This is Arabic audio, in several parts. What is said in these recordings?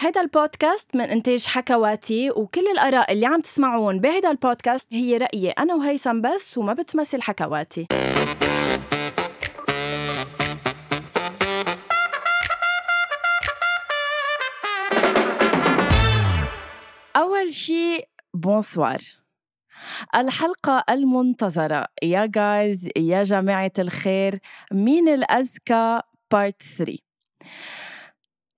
هيدا البودكاست من إنتاج حكواتي وكل الآراء اللي عم تسمعون بهيدا البودكاست هي رأيي أنا وهيثم بس وما بتمثل حكواتي أول شي بونسوار الحلقة المنتظرة يا جايز يا جماعة الخير مين الأذكى بارت 3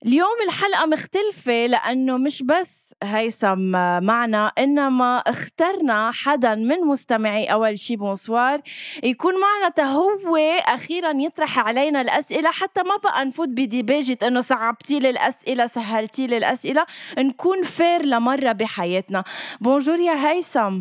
اليوم الحلقة مختلفة لأنه مش بس هيثم معنا إنما اخترنا حدا من مستمعي أول شي بونسوار يكون معنا تهو أخيرا يطرح علينا الأسئلة حتى ما بقى نفوت بديباجة إنه صعبتي لي الأسئلة سهلتي لي الأسئلة نكون فير لمرة بحياتنا بونجور يا هيثم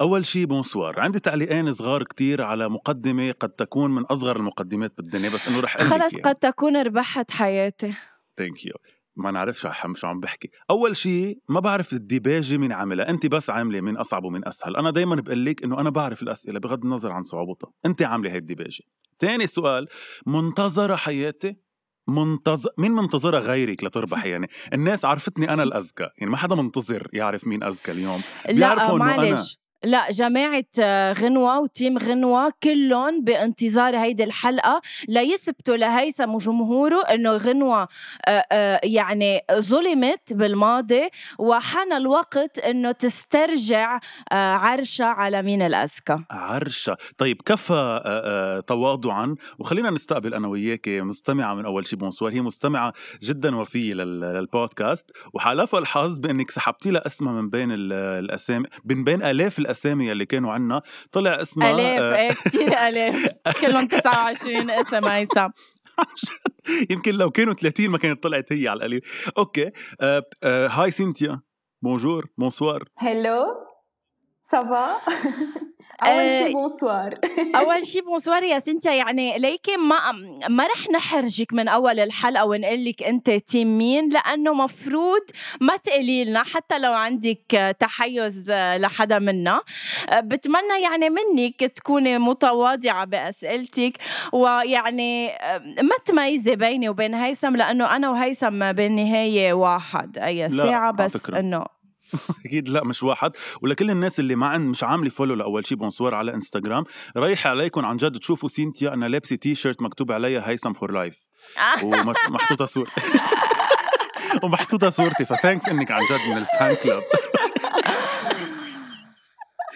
أول شي بونسوار عندي تعليقين صغار كتير على مقدمة قد تكون من أصغر المقدمات بالدنيا بس إنه رح أقول لك خلص إياها. قد تكون ربحت حياتي ثانك يو ما نعرفش عم شو عم بحكي اول شيء ما بعرف الديباجه مين عاملها انت بس عامله مين اصعب ومين اسهل انا دائما بقول لك انه انا بعرف الاسئله بغض النظر عن صعوبتها انت عامله هاي الديباجه ثاني سؤال منتظره حياتي منتظر مين منتظرة غيرك لتربح يعني الناس عرفتني أنا الأذكى يعني ما حدا منتظر يعرف مين أذكى اليوم لا بيعرفوا إنه أنا- معلش لا جماعة آه، غنوة وتيم غنوة كلهم بانتظار هيدي الحلقة ليثبتوا لهيثم وجمهوره انه غنوة آه، آه، يعني ظلمت بالماضي وحان الوقت انه تسترجع آه، عرشها على مين الأذكى عرشة طيب كفى آه، آه، تواضعا وخلينا نستقبل أنا وياك مستمعة من أول شي بونسوار هي مستمعة جدا وفية لل- للبودكاست وحالفها الحظ بأنك سحبتي لها اسمها من بين ال- الأسامي من بين آلاف الأسامي اللي كانوا عنا طلع اسمها آلاف آه، ايه كثير آلاف كلهم 29 اسم هيثم يمكن لو كانوا 30 ما كانت طلعت هي على القليل أوكي آه، آه، هاي سينتيا بونجور بونسوار هلو سافا اول آه، شي بونسوار اول شيء بونسوار يا سنتيا يعني ليكي ما ما رح نحرجك من اول الحلقه ونقول لك انت تيم مين لانه مفروض ما تقولي لنا حتى لو عندك تحيز لحدا منا بتمنى يعني منك تكوني متواضعه باسئلتك ويعني ما تميزي بيني وبين هيثم لانه انا وهيثم بالنهايه واحد اي لا، ساعه على بس فكرة. انه اكيد لا مش واحد ولكل الناس اللي ما عند مش عامله فولو لاول شي بونسوار على انستغرام رايح عليكم عن جد تشوفوا سينتيا انا لابسه تي شيرت مكتوب عليها هيثم فور لايف ومحطوطه صور ومحطوطه صورتي فثانكس انك عن جد من الفان كلاب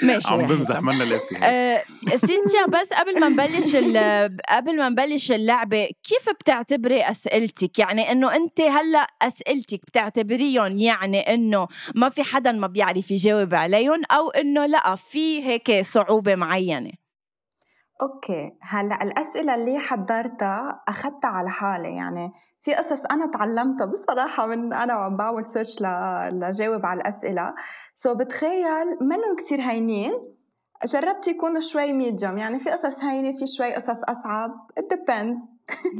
ماشي يا عم هيثم. بمزح منا لابسه هيك. آه، سينتيا بس قبل ما نبلش ال- قبل ما نبلش اللعبه كيف بتعتبري اسئلتك يعني انه انت هلا اسئلتك بتعتبريهم يعني انه ما في حدا ما بيعرف يجاوب عليهم او انه لا في هيك صعوبه معينه اوكي هلا الاسئله اللي حضرتها اخذتها على حالي يعني في قصص انا تعلمتها بصراحه من انا وعم بعمل سيرش ل- لجاوب على الاسئله سو so بتخيل منهم كتير هينين جربت يكونوا شوي ميديوم يعني في قصص هينه في شوي قصص اصعب it depends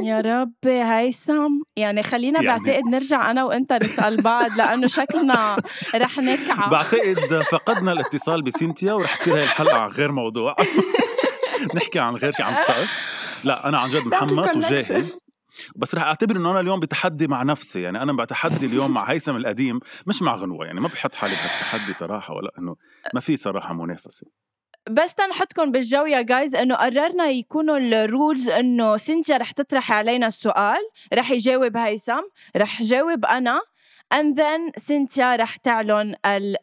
يا ربي هيثم يعني خلينا يعني- بعتقد نرجع انا وانت نسال بعض لانه شكلنا رح نكعب بعتقد فقدنا الاتصال بسينتيا ورح تصير هاي الحلقه عن غير موضوع نحكي عن غير شي عم تقص لا انا عن جد محمس وجاهز بس رح اعتبر انه انا اليوم بتحدي مع نفسي يعني انا بتحدي اليوم مع هيثم القديم مش مع غنوه يعني ما بحط حالي بهالتحدي صراحه ولا انه ما في صراحه منافسه بس تنحطكم بالجو يا جايز انه قررنا يكونوا الرولز انه سنتيا رح تطرح علينا السؤال رح يجاوب هيثم رح جاوب انا and then سنتيا رح تعلن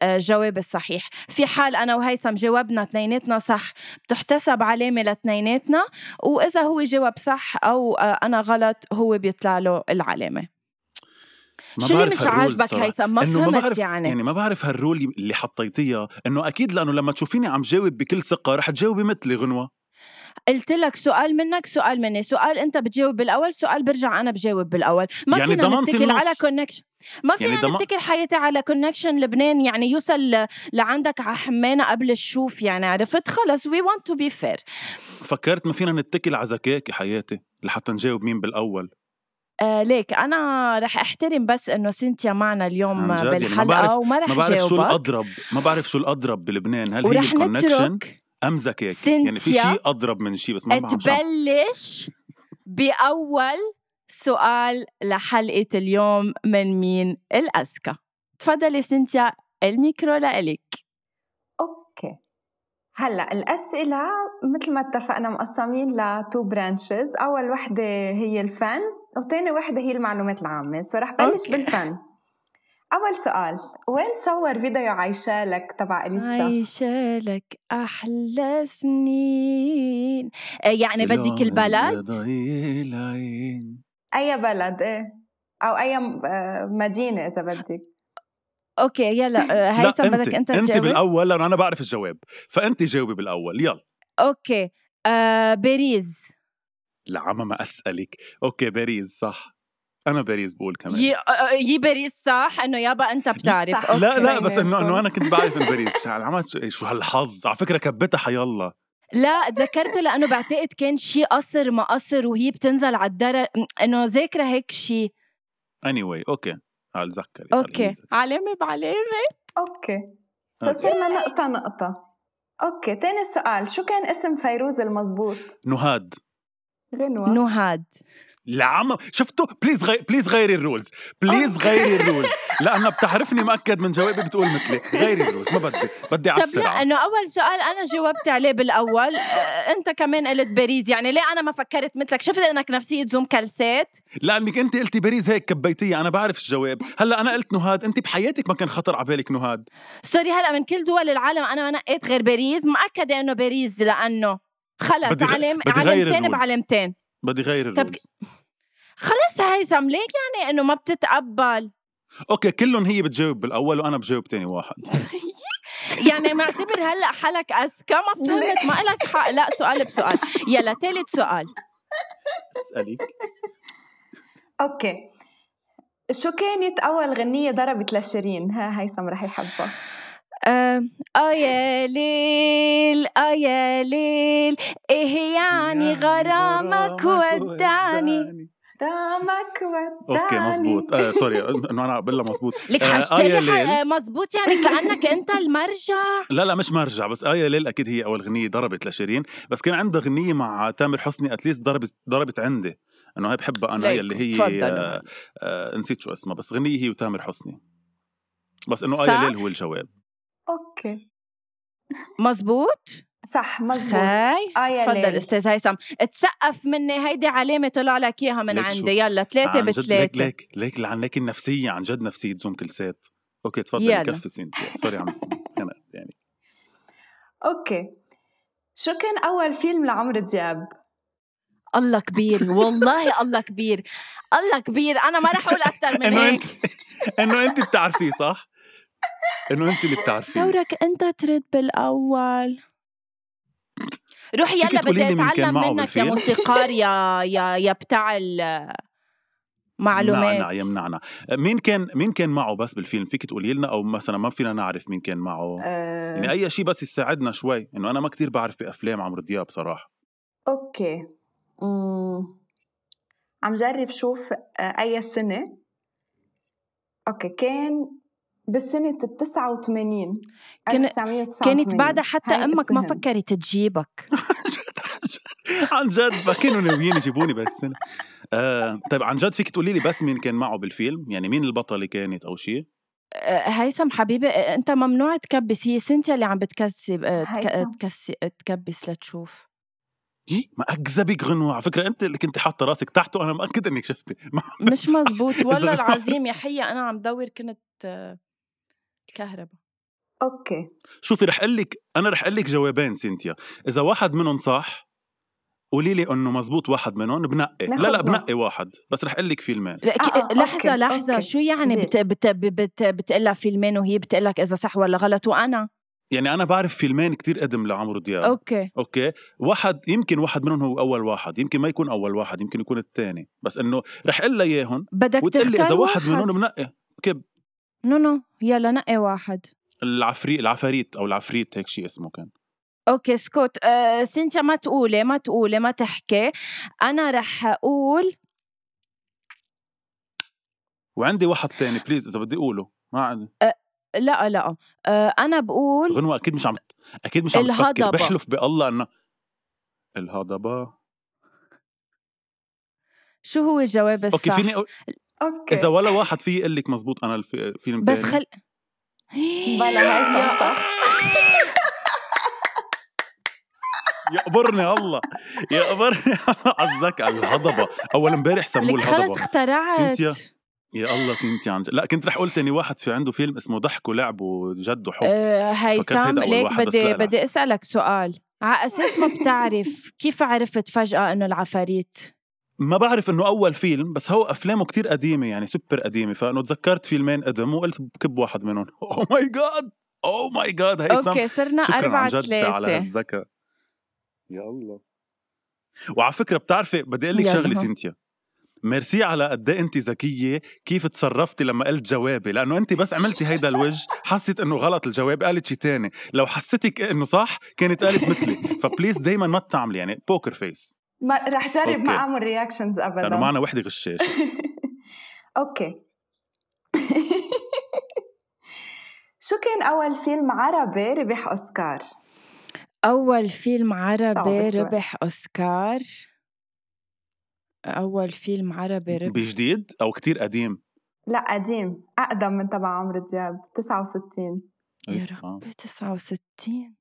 الجواب الصحيح في حال انا وهيثم جاوبنا اثنيناتنا صح بتحتسب علامه لاثنيناتنا واذا هو جاوب صح او آه، انا غلط هو بيطلع له العلامه ما شو اللي بعرف مش هالرول عاجبك صراحة. هيثم ما إنه فهمت بعرف يعني يعني ما بعرف هالرول اللي حطيتيها انه اكيد لانه لما تشوفيني عم جاوب بكل ثقه رح تجاوبي مثلي غنوه قلت لك سؤال منك سؤال مني سؤال انت بتجاوب بالاول سؤال برجع انا بجاوب بالاول ما يعني فينا ضمنت نتكل النص. على كونكشن ما فينا يعني يعني ضم- نتكل حياتي على كونكشن لبنان يعني يوصل ل- لعندك على حمانه قبل الشوف يعني عرفت خلص وي ونت تو بي فير فكرت ما فينا نتكل على ذكاك يا حياتي لحتى نجاوب مين بالاول آه ليك انا رح احترم بس انه سنتيا معنا اليوم عن جد يعني ما بالحلقه بعرف- وما ما رح بعرف شو جاوبك الاضرب ما بعرف شو الاضرب بلبنان هل هي ورح الكونكشن نترك ام ذكاك يعني في سينتيا شيء اضرب من شيء بس ما بعرف شو عم- تبلش باول سؤال لحلقة اليوم من مين الأذكى تفضلي سنتيا الميكرو لإلك اوكي هلا الاسئله مثل ما اتفقنا مقسمين لتو برانشز اول وحده هي الفن وثاني وحده هي المعلومات العامه سو رح بلش أوكي. بالفن اول سؤال وين صور فيديو عايشه لك تبع اليسا عايشة لك أحلى سنين آه، يعني بدك البلد اي بلد ايه او اي م- آه، مدينه اذا بدك أوكي يلا آه، لا هيثم بدك أنت انت تجاوب بالاول لانه انا بعرف الجواب فانت جاوبي بالاول يلا أوكي آه، باريس لعما ما اسالك اوكي باريس صح انا باريس بقول كمان يي, آه، يي باريس صح إنه يابا أنت بتعرف صح. أوكي. لا لا بس انه بيناتهم. انه انا كنت بعرف إن باريس عملت شو- إيه، شو هالحظ على فكره كبتها حيالله لا تذكرته لأنه بعتقد كان شي قصر ما قصر وهي بتنزل على الدرج إنه ذاكرة هيك شي اني anyway, اوكي هلا اتذكر أوكي علامة بعلامة اوكي سو أوكي. صرنا نقطه نقطه اوكي تاني سؤال شو كان اسم فيروز المزبوط نهاد غنوه نهاد لعم شفتوا بليز غي... بليز غيري الرولز بليز غيري الرولز لانها بتعرفني مأكد من جوابي بتقول مثلي غيري الرولز ما بدي بدي على طب لا السرعه انه اول سؤال انا جاوبت عليه بالاول آه، انت كمان قلت باريس يعني ليه انا ما فكرت مثلك شفت انك نفسيه زوم كلسات لانك انت قلتي باريس هيك كبيتيها انا بعرف الجواب هلا انا قلت نهاد انت بحياتك ما كان خطر على بالك نهاد سوري هلا من كل دول العالم انا ما نقيت غير باريس مأكده انه باريس لانه خلص بدي غ- علم بدي غير علمتين الرولز. بعلمتين بدي غير طب الرولز خلص هيثم ليك يعني انه ما بتتقبل اوكي كلهم هي بتجاوب بالاول وانا بجاوب تاني واحد يعني معتبر هلا حالك اذكى ما فهمت ما لك حق لا سؤال بسؤال يلا ثالث سؤال اسالك اوكي شو كانت اول غنيه ضربت لشيرين ها هيثم رح يحبها آه آه يا ليل آه يا ليل إيه يعني غرامك ودعني رامك وداني اوكي مزبوط آه سوري انه انا بقول مزبوط لك آه، آه حشتلي يا ح- ليل. آه، مزبوط يعني كأنك أنت المرجع لا لا مش مرجع بس آية ليل أكيد هي أول غنية ضربت لشيرين بس كان عندها غنية مع تامر حسني أتليست ضربت ضربت عندي أنه هي بحبها أنا ليكو، هي اللي هي تفضلوا. آه آه نسيت شو اسمها بس غنية هي وتامر حسني بس إنه صح؟ آية ليل هو الجواب اوكي مزبوط صح مزبوط خاي آه يا تفضل ليل استاذ هيثم تسقف مني هيدي علامه طلع لك اياها من ليك شو. عندي يلا ثلاثه عن جد ليك بثلاثه ليك ليك لعن لك النفسية عن جد نفسية زوم كلسات أوكي يلا. تفضلي كفي سنتي سوري عم أنا يعني اوكي شو كان اول فيلم لعمرو دياب الله كبير والله الله كبير الله كبير انا ما رح اقول اكثر من إنه هيك أنت إنه أنت بتعرفيه صح؟ إنه أنت اللي بتعرفيه دورك انت ترد بالاول روح فيك يلا تقولي بدي لي مين كان اتعلم معه منك يا بالفيلم؟ موسيقار يا يا يا بتاع ال- نعنا معلومات يمنعنا مين كان مين كان معه بس بالفيلم فيك تقولي لنا او مثلا ما فينا نعرف مين كان معه آه، يعني اي شيء بس يساعدنا شوي انه انا ما كتير بعرف بافلام عمرو دياب صراحه اوكي أمم، عم جرب شوف آه، اي سنه اوكي كان بالسنة 89 كان- 1989 كانت بعدها حتى هاي امك ما اتسهمت. فكرت تجيبك عن جد ما كانوا ناويين يجيبوني بس آه طيب عن جد فيك تقولي لي بس مين كان معه بالفيلم يعني مين البطله كانت او شيء أه، هيثم حبيبي أه، انت ممنوع تكبس هي سنتيا اللي عم بتكسب أه، تك- هيثم. تكسي تكبس لتشوف إيه؟ ما اكذبك غنوه على فكره انت اللي كنت حاطه راسك تحته انا مأكد انك شفتي ما مش مزبوط والله إذا- العظيم يا حيه انا عم دور كنت أه، الكهرباء اوكي شوفي رح اقول لك انا رح اقول لك جوابين سينتيا اذا واحد منهم صح قولي لي انه مزبوط واحد منهم بنقي ناخد لا لا بنقي نص. واحد بس رح اقول لك فيلمين لا، ك- آه، آه، لحظة أوكي، لحظة أوكي. شو يعني ديل. بت بت بت بتقلها فيلمين وهي بتقلك إذا صح ولا غلط وأنا يعني انا بعرف فيلمين كتير قدم لعمرو دياب أوكي. أوكي اوكي واحد يمكن واحد منهم هو اول واحد يمكن ما يكون اول واحد يمكن يكون الثاني بس انه رح اقول لها اياهم بدك وتقول لي تختار اذا واحد, واحد منهم بنقي نو نو يلا نقي واحد العفريت العفاريت او العفريت هيك شيء اسمه كان أوكي سكوت أه سينتيا ما تقولي ما تقولي ما تحكي أنا رح أقول وعندي واحد تاني بليز اذا بدي اقوله ما عندي لا لا أه أنا بقول غنوة اكيد مش عم اكيد مش عم الهضبة. تفكر بحلف بالله انه الهضبه شو هو الجواب الصح؟ اوكي فيني أقول... اوكي اذا ولا واحد في يقول لك مزبوط انا الف... فيلم بس تاني. خل بلا هيثم صح يقبرني الله يقبرني الله على الذكاء الهضبه اول امبارح سموه لك خلص الهضبه اخترعت سينثيا. يا الله سنتي عن جد لا كنت رح قلت اني واحد في عنده فيلم اسمه ضحك ولعب وجد وحب آه، هيثم هيدا أول ليك واحد، بس لا بدي لا. بدي اسالك سؤال على اساس ما بتعرف كيف عرفت فجاه انه العفاريت ما بعرف انه اول فيلم بس هو افلامه كتير قديمه يعني سوبر قديمه فانه تذكرت فيلمين قدم وقلت بكب واحد منهم Oh او ماي جاد او ماي جاد هيثم اوكي صرنا شكرا عن أربعة جد على ثلاثة هالذكاء يا الله وعلى فكره بتعرفي بدي اقول لك يلا. شغله سينتيا ميرسي على قد ايه انت ذكيه كيف تصرفتي لما قلت جوابي لانه انت بس عملتي هيدا الوجه حسيت انه غلط الجواب قالت شي تاني لو حسيتك انه صح كانت قالت مثلي فبليز دايما ما تعملي يعني بوكر فيس ما رح جرب أوكي. ما اعمل رياكشنز ابدا لانه معنا وحده غشاشه اوكي شو كان اول فيلم عربي ربح اوسكار؟ أول فيلم عربي صعب شوي. ربح أوسكار أول فيلم عربي ربح بجديد او كتير قديم لا قديم اقدم من تبع عمرو دياب 69 يا إيه، آه. ربي 69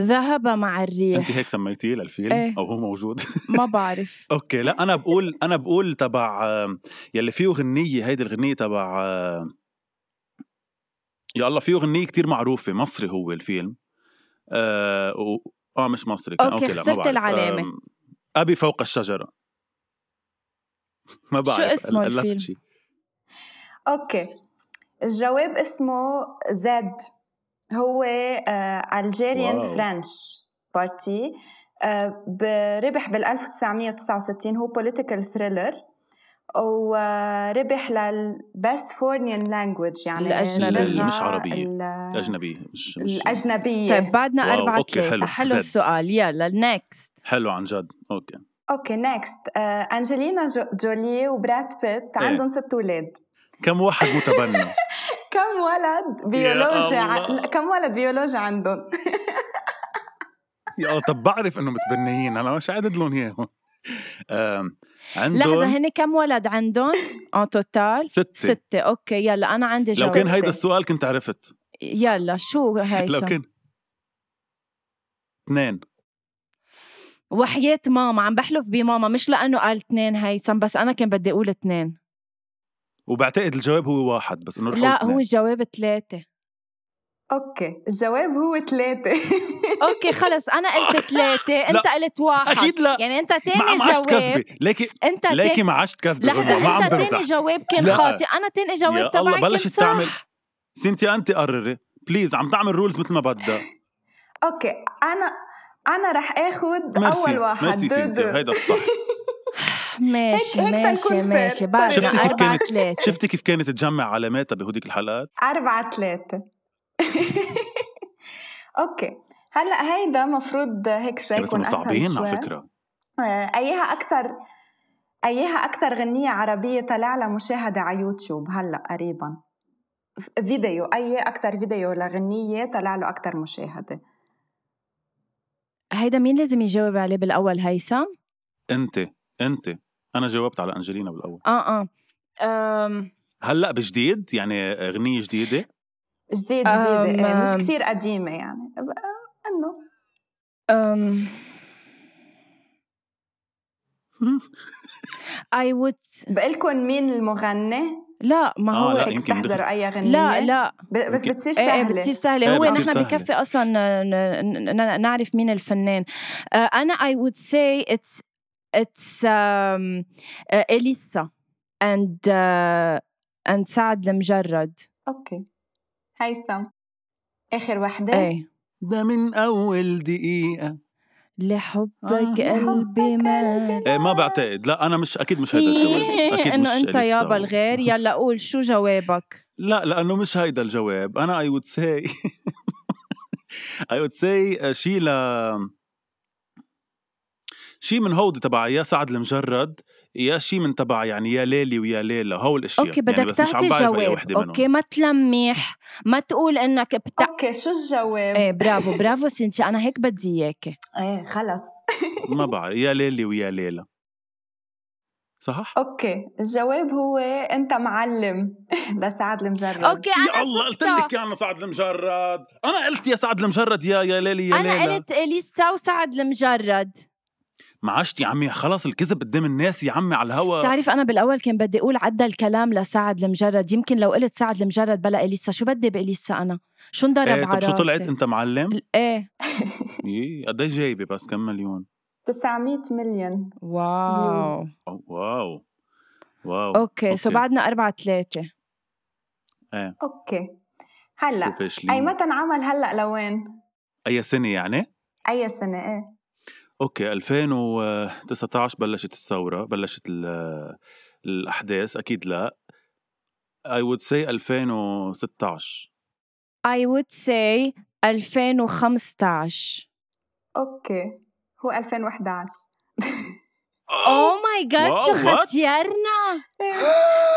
ذهب مع انت الريح هيك سميتيه للفيلم إيه. او هو موجود ما بعرف اوكي لا انا بقول انا بقول تبع آم، يلي فيه غنيه هيدي الغنيه تبع آم، يا الله فيه غنيه كتير معروفه مصري هو الفيلم اه, و- آه مش مصري كان أوكي، اوكي لا ما خسرت بعرف. العلامة. آم، ابي فوق الشجره ما بعرف اسمه ألفت الفيلم؟ شي. اوكي الجواب اسمه زد هو آه، الجيريان واو. فرنش بارتي آه، ربح بال 1969 هو بوليتيكال ثريلر وربح للبست فورنيان لانجوج يعني الأجنبية. اللغة مش عربية. ال- الاجنبيه مش, مش الأجنبية طيب بعدنا واو، أربعة أوكي، ثلاثة حلو. حلو زد. السؤال يلا نيكست حلو عن جد اوكي اوكي نيكست انجلينا آه، جو- جولي وبراد بيت إيه. عندهم ست اولاد كم واحد متبنى كم ولد بيولوجيا الله. عن... كم ولد بيولوجيا عندهم يا الله، طب بعرف انه متبنيين انا مش عدد لهم اياهم آم، عندهم لحظة هن كم ولد عندهم أن توتال؟ ستة. ستة أوكي يلا أنا عندي لو جواب كان هيدا جاوبتي. السؤال كنت عرفت يلا شو لو هيثم كان اثنين وحياة ماما عم بحلف بماما مش لأنه قال اثنين هيثم بس أنا كان بدي أقول اثنين وبعتقد الجواب هو واحد بس انه رح لا أقول هو اثنين. الجواب ثلاثة اوكي الجواب هو ثلاثة اوكي خلص انا قلت ثلاثة انت قلت واحد اكيد لا يعني انت ما تاني عم عشت جواب كذبه ليكي انت ليكي تاني ما عشت كذبه غنوة، ما لحظة عم انت تاني بمزح جواب كان لا. خاطئ انا تاني يا جواب الله، تبعي كان بلشت صح تعمل- سنتي انت قرري بليز عم تعمل رولز مثل ما بدها اوكي انا انا رح اخد ميرسي اول واحد ميرسي دو سنتي دو. هيدا الصح ماشي هيك- هيك ماشي تنكون ماشي fair. بعدنا شفتي كيف أربعة كانت- ثلاثة شفتي كيف كانت تجمع علاماتها بهوديك الحلقات أربعة ثلاثة اوكي هلا هيدا مفروض هيك شوي بس يكون انه اسهل صعبين شوي على فكره آه، ايها اكثر ايها اكثر غنية عربية طلع لها مشاهدة على يوتيوب هلا قريبا ف- فيديو اي اكثر فيديو لغنية طلع له اكثر مشاهدة هيدا مين لازم يجاوب عليه بالأول هيثم؟ انت انت انا جاوبت على انجلينا بالاول اه اه أم هلا بجديد يعني اغنيه جديده جديد جديدة أم، إيه، أم. مش كثير قديمة يعني ب- آه، انه أم I would بقلكن مين المغني لا ما آه، هو لا، هيك يمكن بدخل. تحضروا اي غنية لا لا ب- بس يمكن. بتصير ايه سهلة ايه بتصير سهلة إيه، هو بتصير نحن سهلة. بكفي اصلا ن- ن- ن- نعرف مين الفنان آه، انا I would say it's it's um, uh, اليسا and uh, and سعد المجرد اوكي هيثم اخر وحده ايه ده من اول دقيقه لحبك آه. قلبي ما إيه ما بعتقد لا انا مش اكيد مش هيدا إيه، الجواب اكيد مش انه انت إليسا. يابا الغير يلا قول شو جوابك لا لانه مش هيدا الجواب انا اي وود سي اي وود سي آه، شي ل شي من هودي تبع يا سعد المجرد يا شي من تبع يعني يا ليلي ويا ليلى هول الاشياء اوكي يعني بدك بس مش تعطي عم بعرف أي جواب وحدة منهم. اوكي ما تلميح ما تقول انك بتع... اوكي شو الجواب ايه برافو برافو سنتي انا هيك بدي اياكي ايه خلص ما بعرف يا ليلي ويا ليلى صح؟ اوكي الجواب هو انت معلم لسعد المجرد اوكي يعني يا انا الله قلت ستة. لك يا سعد المجرد انا قلت يا سعد المجرد يا يا ليلي يا انا ليلى. قلت اليسا وسعد المجرد معاشت يا عمي خلص الكذب قدام الناس يا عمي على الهوا بتعرف انا بالاول كان بدي اقول عدى الكلام لسعد المجرد يمكن لو قلت سعد المجرد بلا اليسا شو بدي باليسا انا شو انضرب ايه على طب شو طلعت راسي؟ انت معلم؟ ايه ايه قد ايه جايبه بس كم مليون؟ 900 مليون واو views. أو- واو واو اوكي سو بعدنا أربعة ثلاثة اوكي هلا شوف إيش اي لي. متى انعمل هلا لوين؟ اي سنه يعني؟ اي سنه ايه؟ اوكي 2019 بلشت الثوره بلشت ال- الاحداث اكيد لا I would say 2016 I would say 2015 اوكي هو 2011 آه، اوه ماي جاد Oh شو واو، what؟ ختيارنا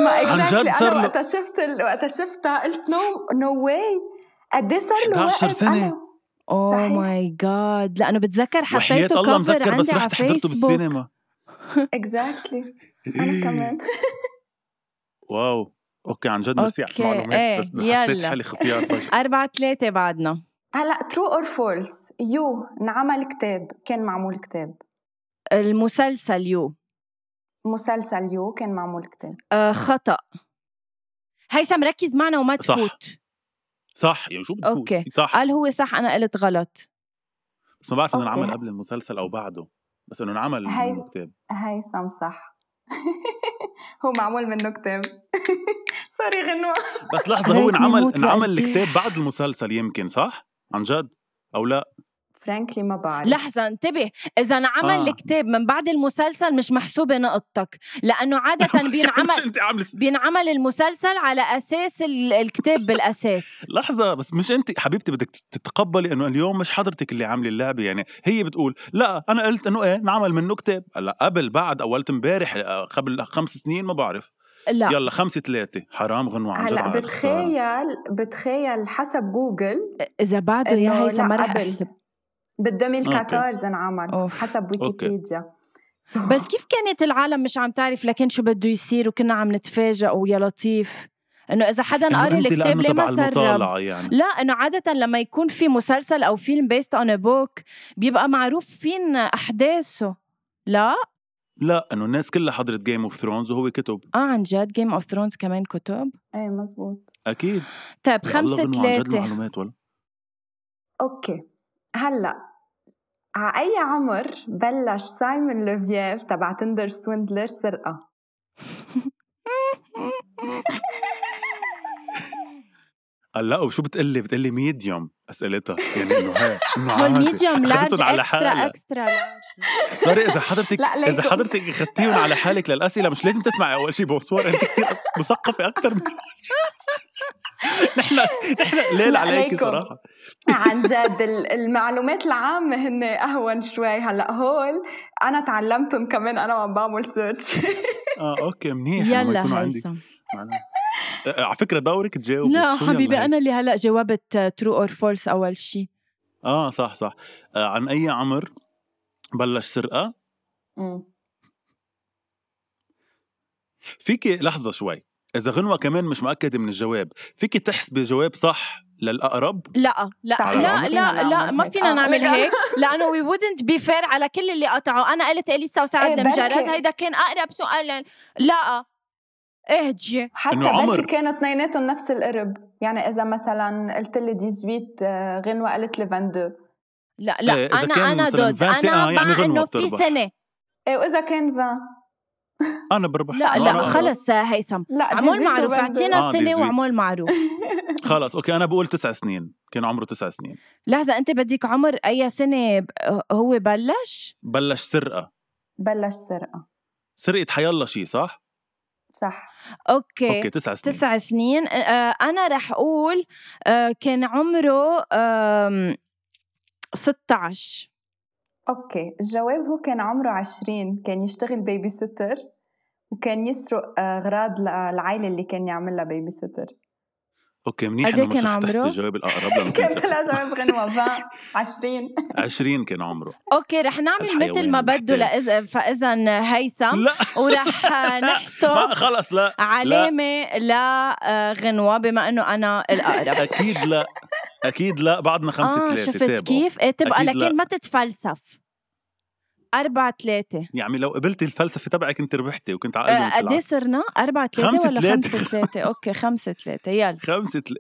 ما عن exactly جد صار انا له- وقتها شفت ال... وقتها شفتها قلت نو نو واي قد ايه صار له 11 وقت سنة. أنا... اوه صحيح. ماي جاد لانه بتذكر وحياة حطيته الله كفر مذكر بس عندي على رحت حضرته فيسبوك بالسينما اكزاكتلي إيه. انا كمان واو اوكي عن جد ميرسي على أوكي، المعلومات إيه، بس حسيت يلا. حالي ختيار فجأة. أربعة ثلاثة بعدنا هلا ترو اور فولس يو انعمل كتاب كان معمول كتاب المسلسل يو مسلسل يو كان معمول كتاب آه خطأ هيثم ركز معنا وما صح. تفوت صح يعني شو بتفوت أوكي. صح قال هو صح أنا قلت غلط بس ما بعرف انه أوكي. انعمل قبل المسلسل او بعده بس انه انعمل هاي- منه كتاب هيثم صح هو معمول منه كتاب سوري غنوة بس لحظه هو ريتني انعمل موت انعمل لقلبي. الكتاب بعد المسلسل يمكن صح؟ عن جد او لا فرانكلي ما بعرف لحظة انتبه إذا انعمل آه. آه. الكتاب من بعد المسلسل مش محسوبة نقطتك لأنه عادة يعني مش بينعمل انت عامله بينعمل المسلسل على أساس ال- الكتاب بالأساس لحظة بس مش انت حبيبتي بدك تتقبلي انه اليوم مش حضرتك اللي عامله اللعبة يعني هي بتقول لا انا قلت انه ايه نعمل منه كتاب هلا قبل بعد اولت امبارح آه، قبل خمس سنين ما بعرف لا يلا خمسة ثلاثة حرام غنوة عن جد هلا على الخسارة. بتخيل بتخيل حسب جوجل إذا بعده إنه يا هيثم ما لا، رح قبل. أحسب بال 2014 انعمل أوف. حسب ويكيبيديا So- بس كيف كانت العالم مش عم تعرف لكن شو بده يصير وكنا عم نتفاجئ ويا لطيف انه اذا حدا إنه قاري انت الكتاب لأنه ليه تبع ما سرب المطالعة يعني لا انه عادة لما يكون في مسلسل او فيلم based on a book بيبقى معروف فين احداثه لا لا انه الناس كلها حضرت جيم اوف ثرونز وهو كتب اه عن جد جيم اوف ثرونز كمان كتب ايه مزبوط اكيد طيب يا الله خمسة غنوة، عن جد ثلاثة المعلومات ولا اوكي هلا على اي عمر بلش سايمون لوفييف تبع تندر سويندلر سرقه قال لا وشو بتقلي بتقلي ميديوم اسئلتها يعني انه هي انه هول عادي. ميديوم لارج أخذتن على اكسترا حالها اكسترا سوري اذا حضرتك لا، ليكو. اذا حضرتك اخذتيهم على حالك للاسئله مش لازم تسمعي اول شيء بوسوار انت كثير مثقفه اكثر من نحن نحن ليل لا، عليكي ليكو. صراحه عن جد ال- المعلومات العامة هن أهون شوي هلا هول أنا تعلمتهم كمان أنا وعم بعمل سيرش اه اوكي منيح إنه ما يكونوا يلا عندي هيثم معلومات. آه، على فكره دورك تجاوب لا حبيبي انا اللي هلا جاوبت ترو اور فولس اول شيء اه صح صح آه عن اي عمر بلش سرقه فيكي لحظه شوي اذا غنوه كمان مش مؤكده من الجواب فيكي تحسبي جواب صح للاقرب لا لا صح. لا ما لا فينا لا نعمل ما هيك. فينا آه، نعمل لك- هيك لانه وي wouldn't بي فير على كل اللي قطعوا انا قلت اليسا وسعد إيه، المجرد بركي. هيدا كان اقرب سؤال لا إيه، اهجي حتى إنه عمر. بركي كانوا اثنيناتهم نفس القرب يعني إذا مثلا قلت لي 18 آه، غنوة قالت لي 22 لا لا إيه، إذا انا كان انا مثلاً ضد 20 انا آه، يعني مع غنوة انه في بتربح. سنه إيه وإذا كان 20 انا بربح لا أنا- لا أنا- خلص آه، هيثم لا عمول 18 معروف و 22. اعطينا آه، سنه 18. وعمول معروف خلص اوكي انا بقول تسع سنين كان عمره تسع سنين لحظه انت بدك عمر اي سنه ب- هو بلش بلش سرقه بلش سرقة سرقه حيالله شيء صح صح اوكي اوكي تسع سنين تسع سنين آه، انا رح اقول آه، كان عمره آم، 16 أوكي الجواب هو كان عمره 20 كان يشتغل بيبي ستر وكان يسرق آه، أغراض العائلة اللي كان يعملها بيبي ستر اوكي منيح قد إيه انه كان مش رح تحسبي عمره؟ الجواب الاقرب لأنه كنت كنت لا جواب غنوة 20 20 20 كان عمره اوكي رح نعمل الحيوان مثل ما بده المحتال. لإذا فاذا هيثم لا ورح ما نحسب خلص لا علامه لغنوه آه، بما انه انا الاقرب اكيد لا اكيد لا بعدنا خمسة اه ثلاثة شفت كيف؟ ايه تبقى أكيد لا. لكن ما تتفلسف أربعة ثلاثة يعني لو قبلت الفلسفة تبعك كنت ربحتي وكنت على قلبي قد ايه صرنا؟ أربعة خمسة ثلاثة ولا تلاتة. خمسة ثلاثة؟ أوكي خمسة ثلاثة يلا خمسة تل...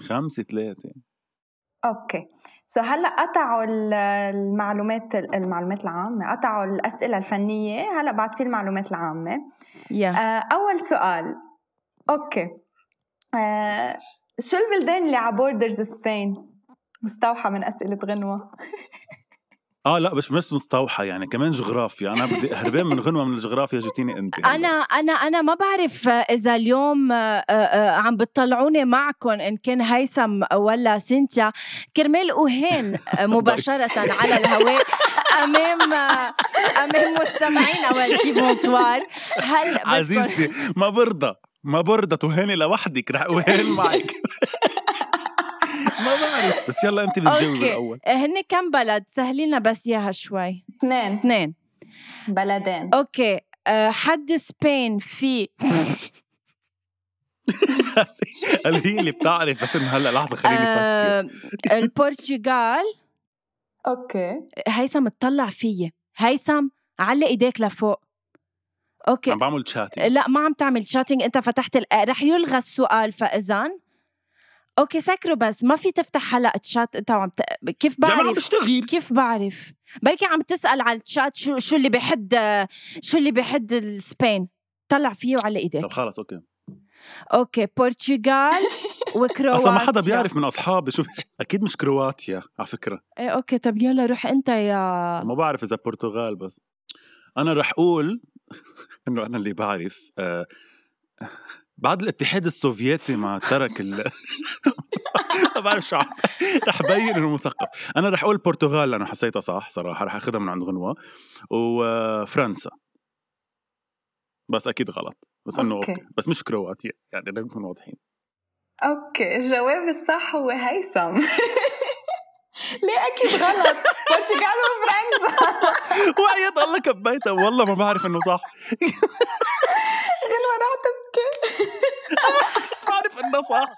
خمسة ثلاثة اوكي سو هلا قطعوا ال- المعلومات المعلومات العامة قطعوا الأسئلة الفنية هلا بعد في المعلومات العامة يا آه، أول سؤال أوكي آه، شو البلدان اللي على بوردرز سبين؟ مستوحى من أسئلة غنوة اه لا مش مش مستوحى يعني كمان جغرافيا انا بدي هربان من غنوة من الجغرافيا يعني. جيتيني انت هلا. أنا أنا أنا ما بعرف إذا اليوم آه، آه، عم بتطلعوني معكم إن كان هيثم ولا سينتيا كرمال أهان طيب. مباشرة على الهواء أمام آه، أمام مستمعين أول شي بونسوار هل بدكن- عزيزتي ما برضى ما برضى تهاني لوحدك رح اهان معك ما بعرف بس يلا انت بتجاوبي أوكي. الاول إيه، هن كم بلد سهلينا بس إياها شوي اثنين اثنين بلدين اوكي أه، حد سبين في قال هي اللي بتعرف بس انه هلا لحظه خليني افكر أه، البرتغال اوكي هيثم اطلع فيي هيثم علق ايديك لفوق اوكي عم بعمل تشاتي لا ما عم تعمل شاتنج انت فتحت ال... آه، رح يلغى السؤال فاذا اوكي سكروا بس ما في تفتح هلا تشات انت وعم ت... كيف عم بعرف بشتغل كيف بعرف بركي عم تسال على الشات شو شو اللي بحد شو اللي بحد السبين طلع فيه وعلى ايديك طب خلص اوكي اوكي برتغال وكرواتيا اصلا ما حدا بيعرف من اصحابي شو اكيد مش كرواتيا على فكره ايه اوكي طب يلا روح انت يا ما بعرف اذا برتغال بس انا رح اقول انه انا اللي بعرف آه، بعد الاتحاد السوفيتي ما ترك ال ما بعرف شو عم رح بين انه مثقف انا رح اقول برتغال لانه حسيتها صح صراحه رح اخذها من عند غنوه وفرنسا بس اكيد غلط بس انه أوكي. اوكي بس مش كرواتيا يعني نكون واضحين اوكي الجواب الصح هو هيثم ليه أكيد غلط برتغال وفرنسا وعيت الله كبيتها والله ما بعرف انه صح غنوة رح تبكي بعرف انه صح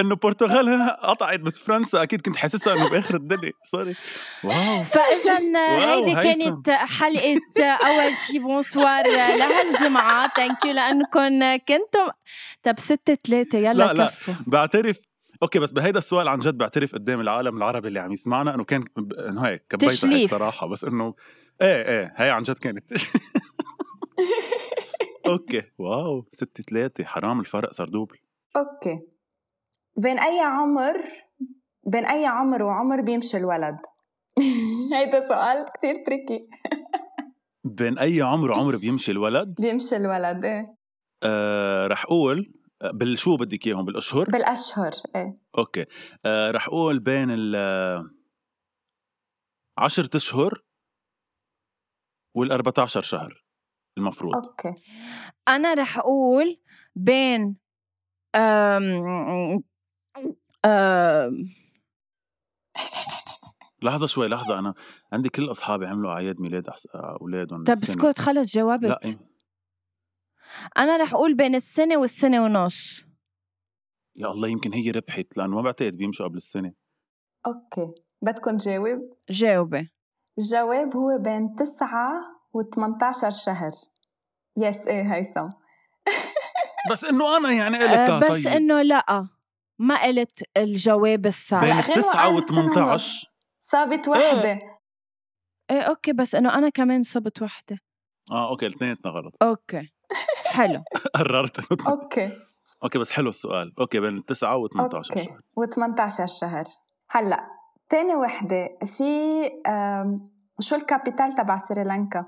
انه برتغال قطعت بس فرنسا اكيد كنت حاسسها انه باخر الدنيا سوري واو فاذا واو، هيدي هيثم. كانت حلقه اول شي بونسوار لهالجمعه ثانك يو لانكم كنتم طب ستة ثلاثة لا، يلا لا. كفوا بعترف اوكي بس بهيدا السؤال عن جد بعترف قدام العالم العربي اللي عم يسمعنا انه كان ب- انه هيك كبيتها هيك تشليف. صراحه بس انه ايه ايه هي عن جد كانت اوكي واو ستة ثلاثة حرام الفرق صار دوبل اوكي بين أي عمر بين أي عمر وعمر بيمشي الولد هيدا سؤال كتير تريكي بين اي عمر وعمر بيمشي الولد بيمشي الولد ايه آه رح اقول آه، بالشو بدك اياهم بالاشهر بالأشهر ايه اوكي آه رح اقول بين ال عشرة اشهر وال 14 شهر المفروض اوكي انا رح اقول بين أم... أم... لحظه شوي لحظه انا عندي كل اصحابي عملوا اعياد ميلاد أحس... اولادهم طب السنة. اسكت خلص لا إيه. جاوبت انا رح اقول بين السنه والسنه ونص يا الله يمكن هي ربحت لانه ما بعتقد بيمشوا قبل السنه اوكي بدكم جاوب جاوبي إيه الجواب هو بين تسعة و18 شهر يس ايه هيثم بس انه انا يعني أه، قلت بس انه لا ما قلت الجواب الصح بين لا، غير التسعة وقال سنة و18 ونص. صابت إيه. وحدة ايه اوكي بس انه انا كمان صبت وحده اه اوكي الاثنيناتنا غلط اوكي حلو قررت اوكي اوكي بس حلو السؤال اوكي بين التسعة و18 اوكي و18 شهر هلا تاني وحدة في آم، شو الكابيتال تبع سريلانكا؟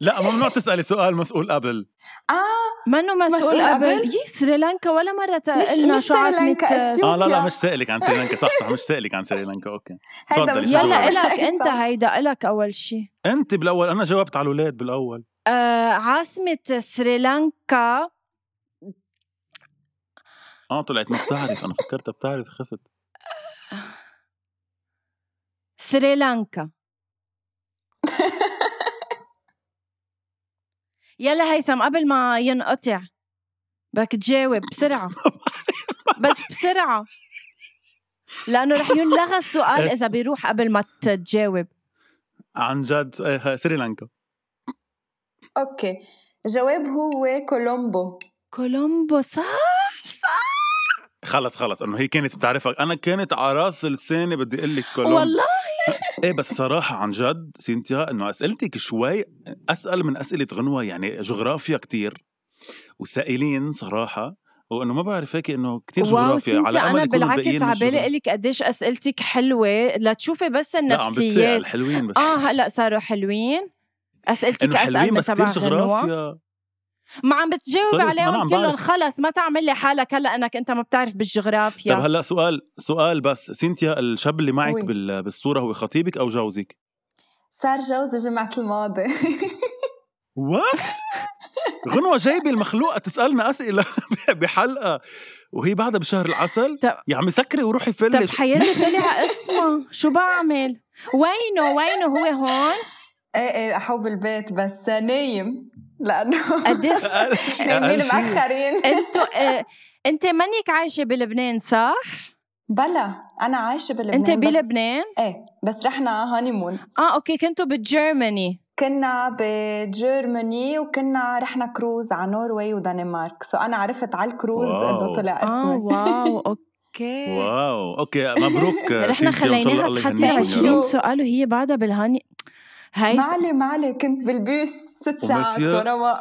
لا ممنوع تسالي سؤال مسؤول قبل اه منو مسؤول مسؤول قبل قبل؟ يي سريلانكا ولا مره مش- قلنا مش إيه، شو آه، عاصمه سريلانكا، أثيوبيا. اه لا لا يا. مش سائلك عن سريلانكا صح صح مش سائلك عن سريلانكا اوكي هيدا تفضلي، مش يلا تفضلي. الك انت هيدا الك اول شيء انت بالاول انا جاوبت على الاولاد بالاول آه عاصمه سريلانكا اه طلعت ما بتعرف انا فكرتها بتعرف خفت سريلانكا يلا هيثم قبل ما ينقطع بدك تجاوب بسرعة بس بسرعة لأنه رح ينلغى السؤال إذا بيروح قبل ما تجاوب عن جد آه، سريلانكا اوكي جواب هو كولومبو كولومبو صح صح خلص خلص انه هي كانت بتعرفك انا كانت على راس لساني بدي اقول لك كولومبو والله ايه بس صراحة عن جد سينتيا انه اسئلتك شوي اسأل من اسئلة غنوة يعني جغرافيا كتير وسائلين صراحة وانه ما بعرف هيك انه كتير واو جغرافيا على سنتيا امل انا يكونوا بالعكس الباقيين مش على بالي جغرافيا. لك قديش اسئلتك حلوه لتشوفي بس لا عم بتسأل النفسيات نعم، حلوين بس اه هلا صاروا حلوين اسئلتك انه اسال حلوين من بس كتير تبع غنوة جغرافيا ما عم بتجاوب سوري بس ما أنا عليهم عم كلهم بعرف. خلص ما تعمل لي حالك هلا انك انت ما بتعرف طب بالجغرافيا هلا سؤال سؤال بس سينتيا الشاب اللي معك وي. بال- بالصورة هو خطيبك او جوزك؟ صار جوزي جمعة الماضي وات غنوة جايبة المخلوقة تسألنا أسئلة بحلقة وهي بعدها بشهر العسل طب- يا عم سكري وروحي طب فلش حياتي طيب، طلع اسمه شو بعمل وينه وينه هو هون ايه ايه احو بالبيت بس نايم لانه قديش أقل- أقل نايمين شي. مأخرين انتوا آه، انت منك عايشه بلبنان صح بلا انا عايشة بلبنان انت بس- بلبنان ايه بس رحنا هانيمون اه اوكي كنتوا بجيرماني كنا بجيرماني وكنا رحنا كروز على نوروي ودنمارك سو انا عرفت على الكروز واو. قد طلع اه اسمي واو اوكي واو اوكي مبروك رحنا سينتيا، إن شاء الله يعني خليناها الله تحطي يهنيكم يا رب. 20 سؤال وهي بعدها بالهاني هاي ما علي ما علي كنت بالبيس ست ساعات ومسيو- صراحة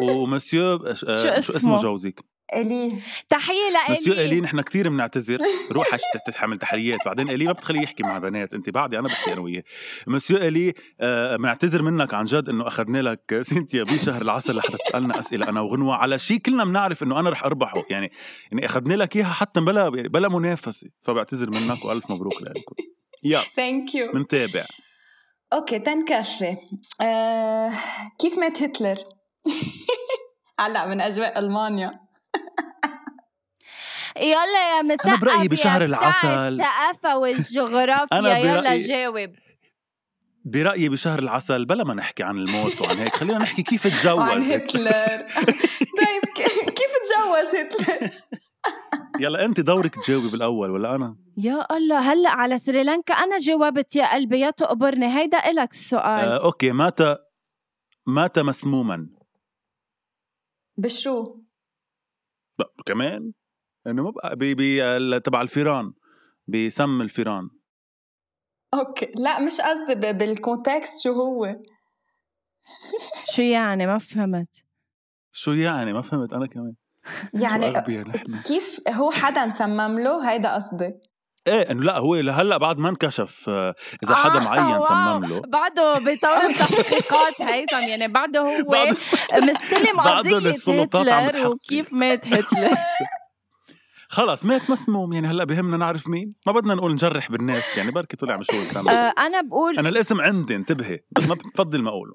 ومسيو آه، شو اسمه؟ اسمه جوزك الي تحيه مسيو الي لإلي نحن كثير بنعتذر روح أش- تتحمل تحريات بعدين الي ما بتخليه يحكي مع بنات انت بعدي انا بحكي انا وياه مسيو الي آه، بنعتذر منك عن جد انه اخذنا لك سينتيا بشهر العسل لحتى تسالنا اسئله انا وغنوه على شيء كلنا بنعرف انه انا رح اربحه يعني يعني اخذنا لك اياها حتى بلا بلا منافسه فبعتذر منك والف مبروك لكم يا ثانك يو منتابع اوكي تنكفي آه، كيف مات هتلر؟ هلا من اجواء المانيا يلا يا مثقف أنا برأيي بشهر يا بتاع العسل. الثقافة والجغرافيا أنا يلا برأيي- جاوب برأيي بشهر العسل بلا ما نحكي عن الموت وعن هيك خلينا نحكي كيف وعن تجوزت هتلر طيب ك- كيف تجوز هتلر؟ يلا انت دورك تجاوبي بالاول ولا انا يا الله هلا على سريلانكا انا جاوبت يا قلبي يا تقبرني هيدا الك السؤال آه اوكي مات مات مسموما بشو؟ بقى كمان انه ما بقى بي بي ال- تبع الفيران بسم الفيران اوكي لا مش قصدي ب- بالكونتكست شو هو شو يعني ما فهمت شو يعني ما فهمت انا كمان شو يعني أغبياء نحن. كيف هو حدا سمم له هيدا قصدي ايه انه لا هو لهلا بعد ما انكشف آه، اذا حدا آه، معين واو. سمم له بعده بيطور تحقيقات هيثم يعني بعده هو بعد- مستلم بعده قضية السلطات عم هتلر تحقق. وكيف مات هتلر خلص مات مسموم يعني هلا بهمنا نعرف مين ما بدنا نقول نجرح بالناس يعني بركي طلع مش هو اللي سمم آه، انا بقول انا الاسم عندي انتبهي بس ما بفضل ما اقوله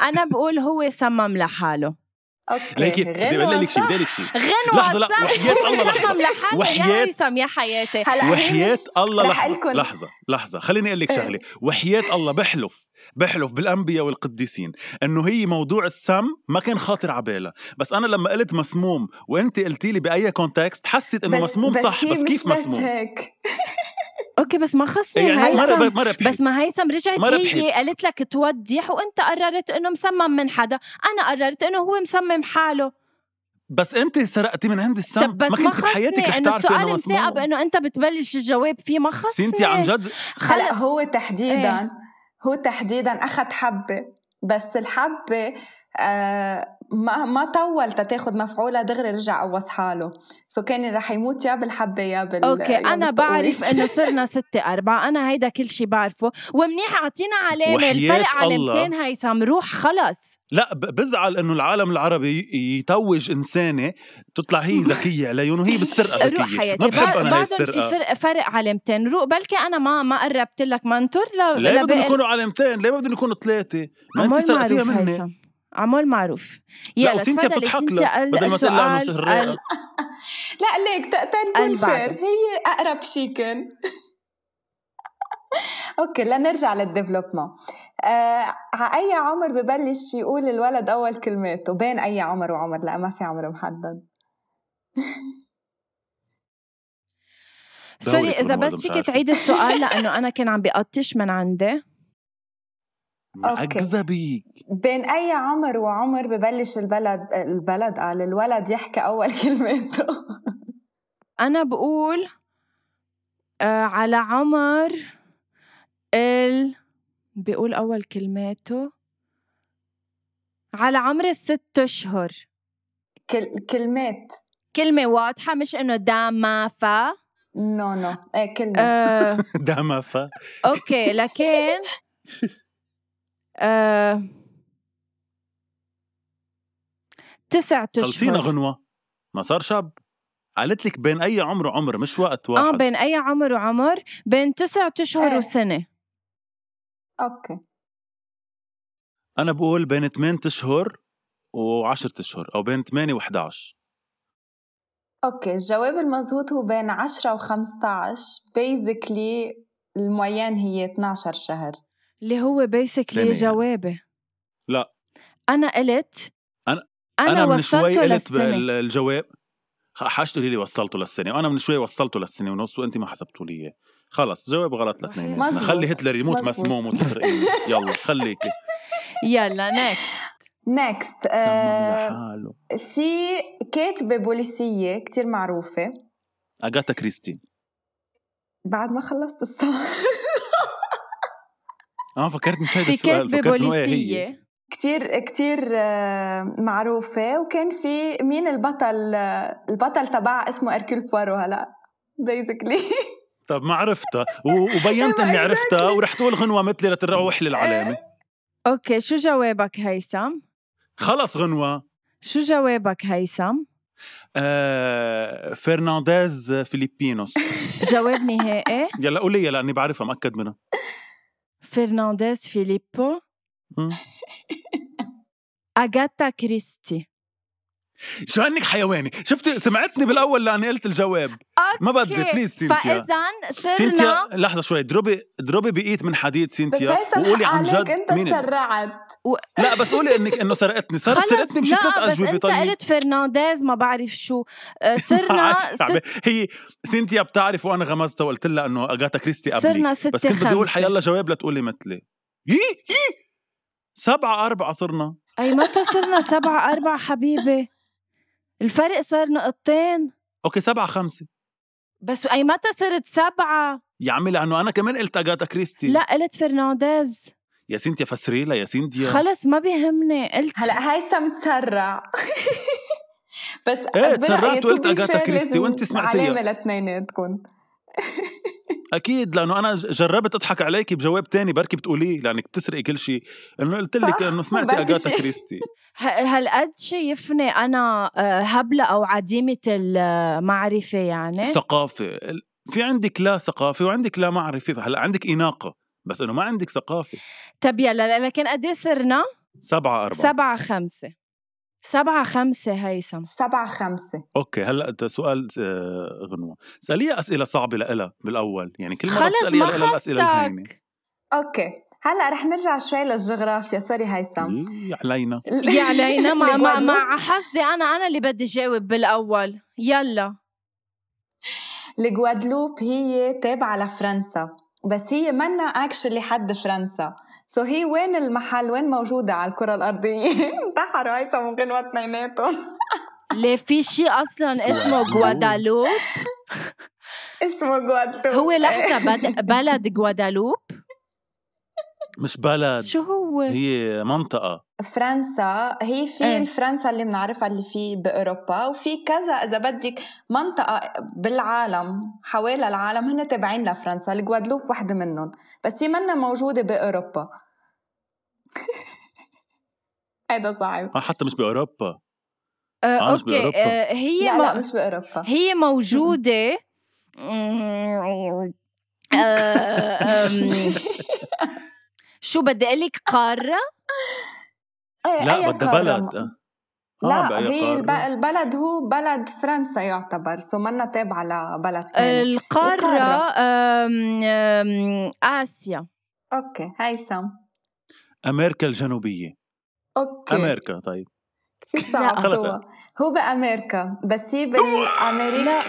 انا بقول هو صمم لحاله اوكي ليكي بدي غنوة اقول لك شيء صح. بدي لك شيء غنوة لحظة، لا، صح، وحياة هو الله، لحظة. صمم لحاله يا وحياة- هيثم يا حياتي هلا هي وحياة مش- الله رح لحظة أقلكن. لحظة لحظة خليني أقول لك إيه. شغلة وحياة الله بحلف بحلف بالأنبياء والقديسين إنه هي موضوع السم ما كان خاطر عبالها بس أنا لما قلت مسموم وأنت قلتي لي بأي كونتكست حسيت إنه مسموم صح هي بس مش كيف بس مسموم هيك اوكي بس ما خصني إيه يعني ما هيثم رب- ما ربحت. بس ما هيثم رجعت ما هي قالت لك توضيح وانت قررت انه مسمم من حدا انا قررت انه هو مسمم حاله بس أنت سرقتي من عند السم طب بس ما, كنت بحياتك خصني رح انه تعرفي السؤال إنه مسموم. مساقب انه انت بتبلش الجواب فيه ما خصني سنتي عن جد هلا خلص هو تحديدا إيه. هو تحديدا اخذ حبه بس الحبه آه ما ما طول تتاخد مفعولها دغري رجع قوص حاله سو كان رح يموت يا بالحبه يا بال اوكي يا انا بالطقوس. بعرف انه صرنا ستة أربعة انا هيدا كل شي بعرفه ومنيح اعطينا علامة وحياة الفرق الله. علامتين هيثم روح خلص لا ب- بزعل انه العالم العربي ي- يتوج انسانه تطلع هي ذكيه عليهم وهي بالسرقه ذكيه روح حياتي ما بحب آه. بع- انا هي بعدهم في السرقه فرق, فرق علامتين روح بلكي انا ما ما قربت لك ما انطر ل- ليه بدهم لباقي يكونوا علامتين؟ ليه بدهم يكونوا ثلاثة؟ ما أمال انت سرقتيها معروف مني هيثم. عمول معروف لا يلا وسينتيا تفضلي بتضحك سينتيا لها بدل ما تقول لها السؤال نص ال- الرئة لا ليك ت- تنكون قال فير بعده. هي اقرب شي كان اوكي لنرجع للديفلوبمون آه على اي عمر ببلش يقول الولد اول كلماته بين اي عمر وعمر لا ما في عمر محدد سوري دورك اذا والله بس مش فيك عارفة. تعيد السؤال لانه انا كان عم بقطش من عندي أوكي. أجزى بيك بين اي عمر وعمر ببلش البلد البلد قال الولد يحكي اول كلماته انا بقول آه على عمر ال بيقول اول كلماته على عمر الست اشهر كل... كلمات كلمة واضحة مش انه داما فا نو نو ايه كلمات آه ده ما فا اوكي لكن آه تسعة خلصينا اشهر غنوة ما صار شاب قالت لك بين أي عمر وعمر مش وقت اه واحد آه. بين اي عمر وعمر بين تسعة اشهر إيه. وسنة اوكي أنا بقول بين 8 أشهر و10 أشهر أو بين 8 و11 اوكي الجواب المضبوط هو بين 10 و15 بيزكلي المويان هي 12 شهر اللي هو سنة بيسكلي يعني. جوابي لا. انا قلت أنا- انا, أنا من شوي وصلته قلت للسنه بال- الجواب خ- حاش تقولي لي وصلته للسنة وأنا من شوي وصلته للسنة ونص وأنت ما حسبتوا لي إياه خلص جواب غلط لاتنين مزبوط. خلي هتلر يموت مزبوط. مسموم وتسرقيني يلا خليكي يلا نكست نيكست آه. سمم لحاله في كاتبة بوليسية كتير معروفة أغاتا كريستي بعد ما خلصت الصور أنا فكرت مش هيدا في آه، السؤال كتبه فكرت إنه إيه هي. بوليسيه كتير كتير آه، معروفة وكان في مين البطل آه، البطل تبعها اسمه اركيل بوارو هلا بيزكلي طب ما عرفتها و- وبينت اني عرفتها ورح تقول غنوه مثلي لتروح لي العلامه اوكي شو جوابك هيثم خلص غنوه شو جوابك هيثم آه فرنانديز فيليبينوس جواب نهائي يلا قولي يلا لاني بعرفها مأكد منها فرنانديز فيليبو مم. اغاتا كريستي شو انك حيواني شفتي سمعتني بالاول لاني قلت الجواب ما بدي بليز سينتيا فاذا سينتيا صرنا لحظه شوي ضربي ضربي بايد من حديد بس سينتيا هيثم وقولي حق عن عليك جد انت مين ال- تسرعت لا بس قولي انك انه سرقتني صارت خلص سرقتني مش ثلاث لا بس اجوبه انت طيب قلت فرنانديز ما بعرف شو آه، صرنا عايش ست تعبان. هي سينتيا بتعرف وانا غمزتها وقلت لها انه اجاتا كريستي قبلي صرنا بس ستة كنت بدي اقول خمسة حيلا جواب لتقولي مثلي يي يي سبعة أربعة صرنا اي متى صرنا سبعة أربعة حبيبي الفرق صار نقطتين أوكي سبعة خمسة بس اي متى صرت سبعة يا عمي لأنه أنا كمان قلت أجاتا كريستي لا قلت فرنانديز يا سينتيا فسري لها يا سينتيا خلص ما بيهمني قلت هلا هيثم تسرع بس ايه برأيي تسرعت to وقلت be أغاثا fair كريستي لازم وأنت سمعتيها. علامة لاتنيناتكم أكيد لأنه أنا ج- جربت أضحك عليكي بجواب تاني بركي بتقوليه لأنك بتسرقي كل شيء إنه قلت لك صح، إنه بركي سمعتي أجاتا شي. كريستي ه- هالقد شايفني انا آه، هبلة او عديمة المعرفة يعني ثقافة ال- في عندك لا ثقافة وعندك لا معرفة هلا عندك إناقة بس إنه ما عندك ثقافة طب يلا لكن قد إيه صرنا سبعة أربعة سبعة خمسة سبعة خمسة هيثم سبعة خمسة اوكي هلا ده سؤال آه، غنوه اساليها اسئله صعبه لإلها بالاول يعني كل مره خلص بتساليها ما لإلها الاسئله الهينه خصك اوكي هلا رح نرجع شوي للجغرافيا سوري هيثم إيه، علينا يا علينا ما ما لجوادلوب. مع حظي انا انا اللي بدي جاوب بالاول يلا الجوادلوب هي تابعة لفرنسا بس هي منا اكشلي حد فرنسا سو هي وين المحل وين موجودة على الكرة الأرضية انتحروا هيثم وغنوة اثنيناتهم ليه في شيء اصلا اسمه غوادالوب اسمه جوادلوب هو لحظه بد- بلد غوادالوب مش بلد شو هو هي منطقه فرنسا هي في إيه. ايه؟ فرنسا اللي بنعرفها اللي في باوروبا وفي كذا اذا بدك منطقه بالعالم حوالي العالم هن تابعين لفرنسا الجوادلوب وحده منهم بس هي منا موجوده باوروبا هيدا صعب آه حتى مش باوروبا آه آه، مش اوكي بأوروبا. آه هي لا, لا م... مش باوروبا هي آه، موجوده آه، أم، شو بدي اقول لك قاره إيه، لا أي بدها قارة بلد آه، لا بأي هي قارة. الب... البلد هو بلد فرنسا يعتبر سو منا تابعة لبلد ثاني القارة يعني القارة. أم، أم، آسيا اوكي هيثم امريكا الجنوبيه اوكي امريكا طيب كثير صعبتوها هو بأمريكا بس هي لا بالأمريكا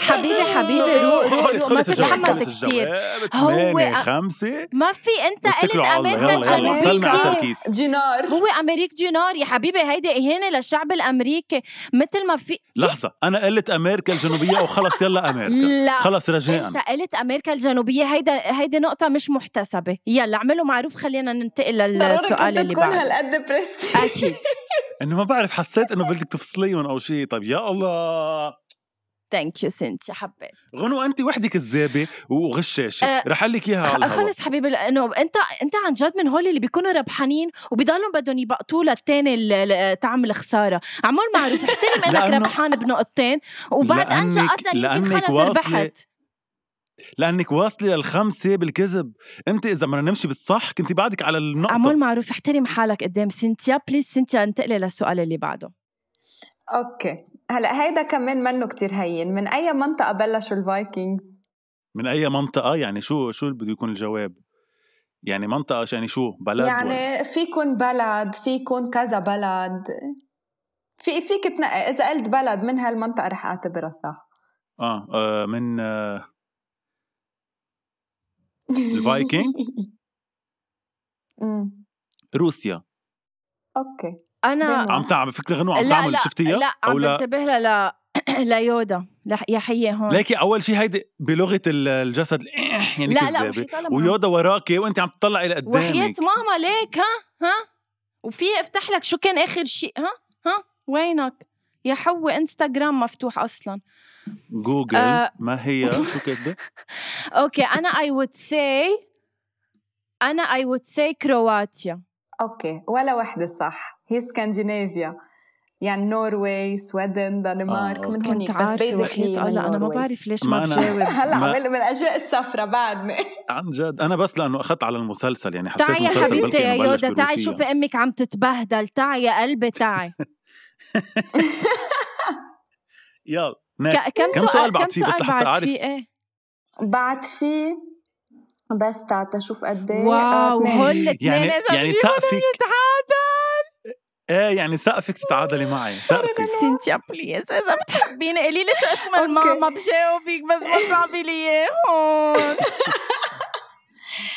حبيبي حبيبي روق روق روق ما خلص الجواب، خلص تتحمس الجواب. كثير هو هو أ- خمسة ما في انت قلت واتكلوا على الله. امريكا يلا يلا سلمي على الجنوبية سركيس دينار هو امريك دينار يا حبيبي هيدي اهانه للشعب الامريكي مثل ما في لحظة أنا قلت أمريكا الجنوبية وخلص يلا أمريكا لا خلص رجاء انت قلت امريكا الجنوبيه هيدا هيدي نقطه مش محتسبه يلا اعملوا معروف خلينا ننتقل ضروري للسؤال كنت اللي تكون بعده هالقد بريسي اكيد إنه ما بعرف حسيت إنه بدك تفصليهم أو شيء طب يا الله ثانك يو سنتي حبيت غنوة أنت وحدك كذابة وغشاشة أه، رح أقول لك إياها على خ- الهوا خلص حبيبي لانه انت انت عن جد من هول اللي بيكونوا ربحانين وبضلهم بدهم يبقطوا للتاني ال- ال- طعم الخساره عمول معروف احترم انك لأنه- ربحان بنقطتين وبعد انجا لأنك- قطنا يمكن لأنك خلص واصلة- ربحت لأنك واصلة للخمسة بالكذب أنت إذا بدنا نمشي بالصح كنت بعدك على عمول النقطة معروف احترم حالك قدام سنتيا بليز سنتيا انتقلي للسؤال اللي بعده اوكي هلا هيدا كمان منه كتير هين من اي منطقة بلشوا الفايكنجز؟ من أي منطقة يعني شو شو اللي بده يكون الجواب يعني منطقة يعني شو بلد ولا- يعني في يكون بلد في يكون كذا بلد في فيك تنقي اذا قلت بلد من هالمنطقة رح اعتبرها صح آه, آه من آه الفايكنجز؟ أمم، روسيا اوكي انا بينهم. عم تعمل فكرة غنوة عم آه. لا، تعمل لا، شفتيها لا أو عم لا بنتبه ل ليودا لا يا حيه هون ليكي اول شيء هيدي بلغه ال- الجسد الإح يعني لا لا كذابه وحيطة لما- ويودا وراكي وانت عم تطلعي وحياة لقدامك ماما ليك ها ها وفي افتح لك شو كان اخر شيء ها ها وينك يا حوي انستغرام مفتوح اصلا جوجل آه. ما هي شو كاتبه اوكي انا اي وود سي انا اي وود سي كرواتيا اوكي ولا وحدة صح هي سكندينافيا يعني نوروي سويدن دنمارك آه، أوكي. من كنت هونيك بس عارفه بيزكلي وحياة الله انا ما بعرف ليش ما ما أنا- بجاوب هلا ما- عمل من اجواء السفرة بعدني عن جد انا بس لانه اخذت على المسلسل يعني حسيت تعي يا مسلسل حبيبتي بلكي يا إنه بلش يودا تعي بروسيا. شوفي امك عم تتبهدل تعي يا قلبي تعي يلا ك- next. كم كم سؤال كم سؤال بعد فيه بس سؤال لحتى بعد اعرف في ايه بعد في بس تعتا شوف قد ايه واو هول إيه. آه، اثنين يعني اذا يعني بجيبهم سقفك ايه يعني سقفك تتعادلي معي سقفك سنتيا بليز اذا بتحبيني e قولي لي شو اسم الماما oh, بجاوبك بس ما صعبي لي eh, اياهم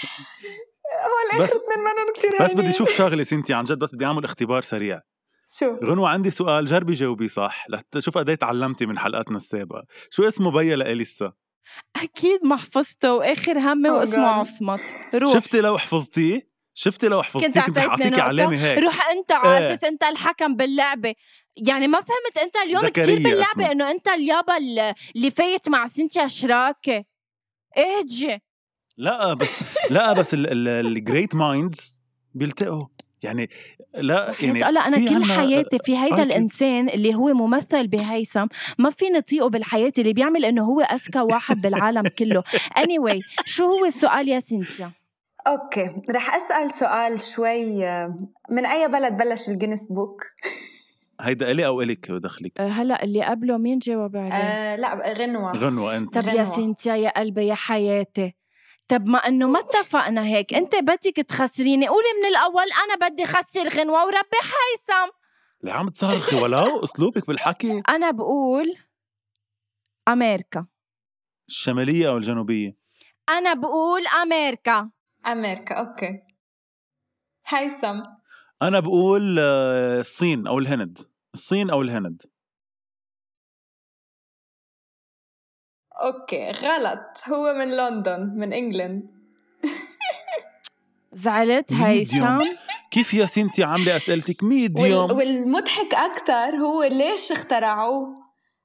هول بس- اخر اثنين منهم كثير بس بدي اشوف شغله سنتي عن جد بس بدي اعمل اختبار سريع شو غنوة عندي سؤال جربي جاوبي صح لحتى شوف قد ايه تعلمتي من حلقاتنا السابقه شو اسمه بيا لاليسا اكيد ما حفظته واخر همي Oh واسمه God. عصمت روح شفتي لو حفظتيه شفتي لو حفظتيه كنت كنت, رح أعطيتني اعطيكي نقطة. علامه هيك روح انت على اساس انت الحكم باللعبه يعني ما فهمت انت اليوم كثير زكريا باللعبه اسمه. انه انت اليابا اللي- اللي فايت مع سنتيا شراكه اهجي لا بس لا بس الجريت مايندز بيلتقوا يعني لا يعني يعني انا في كل عنا- آه، حياتي في هيدا أركي. الانسان اللي هو ممثل بهيثم ما في نطيقه بالحياه اللي بيعمل انه هو اذكى واحد بالعالم كله anyway شو هو السؤال يا سنتيا اوكي رح اسال سؤال شوي آه، من اي بلد بلش الجينيس بوك؟ هيدا الي او الك دخلك أه، هلا اللي قبله مين جاوب عليه آه لا غنوة غنوة انت طب يا غنوة. سنتيا يا قلبي يا حياتي طب ما انه ما اتفقنا هيك انت بدك تخسريني قولي من الاول انا بدي خسر غنوه وربي هيثم اللي عم تصرخي ولو اسلوبك بالحكي انا بقول امريكا الشماليه او الجنوبيه انا بقول امريكا امريكا اوكي هيثم انا بقول آه، الصين او الهند الصين او الهند اوكي غلط هو من لندن من انجلند زعلت ميديوم. هيثم كيف يا سنتي عامله اسئلتك وال... ميديوم والمضحك اكثر هو ليش اخترعوه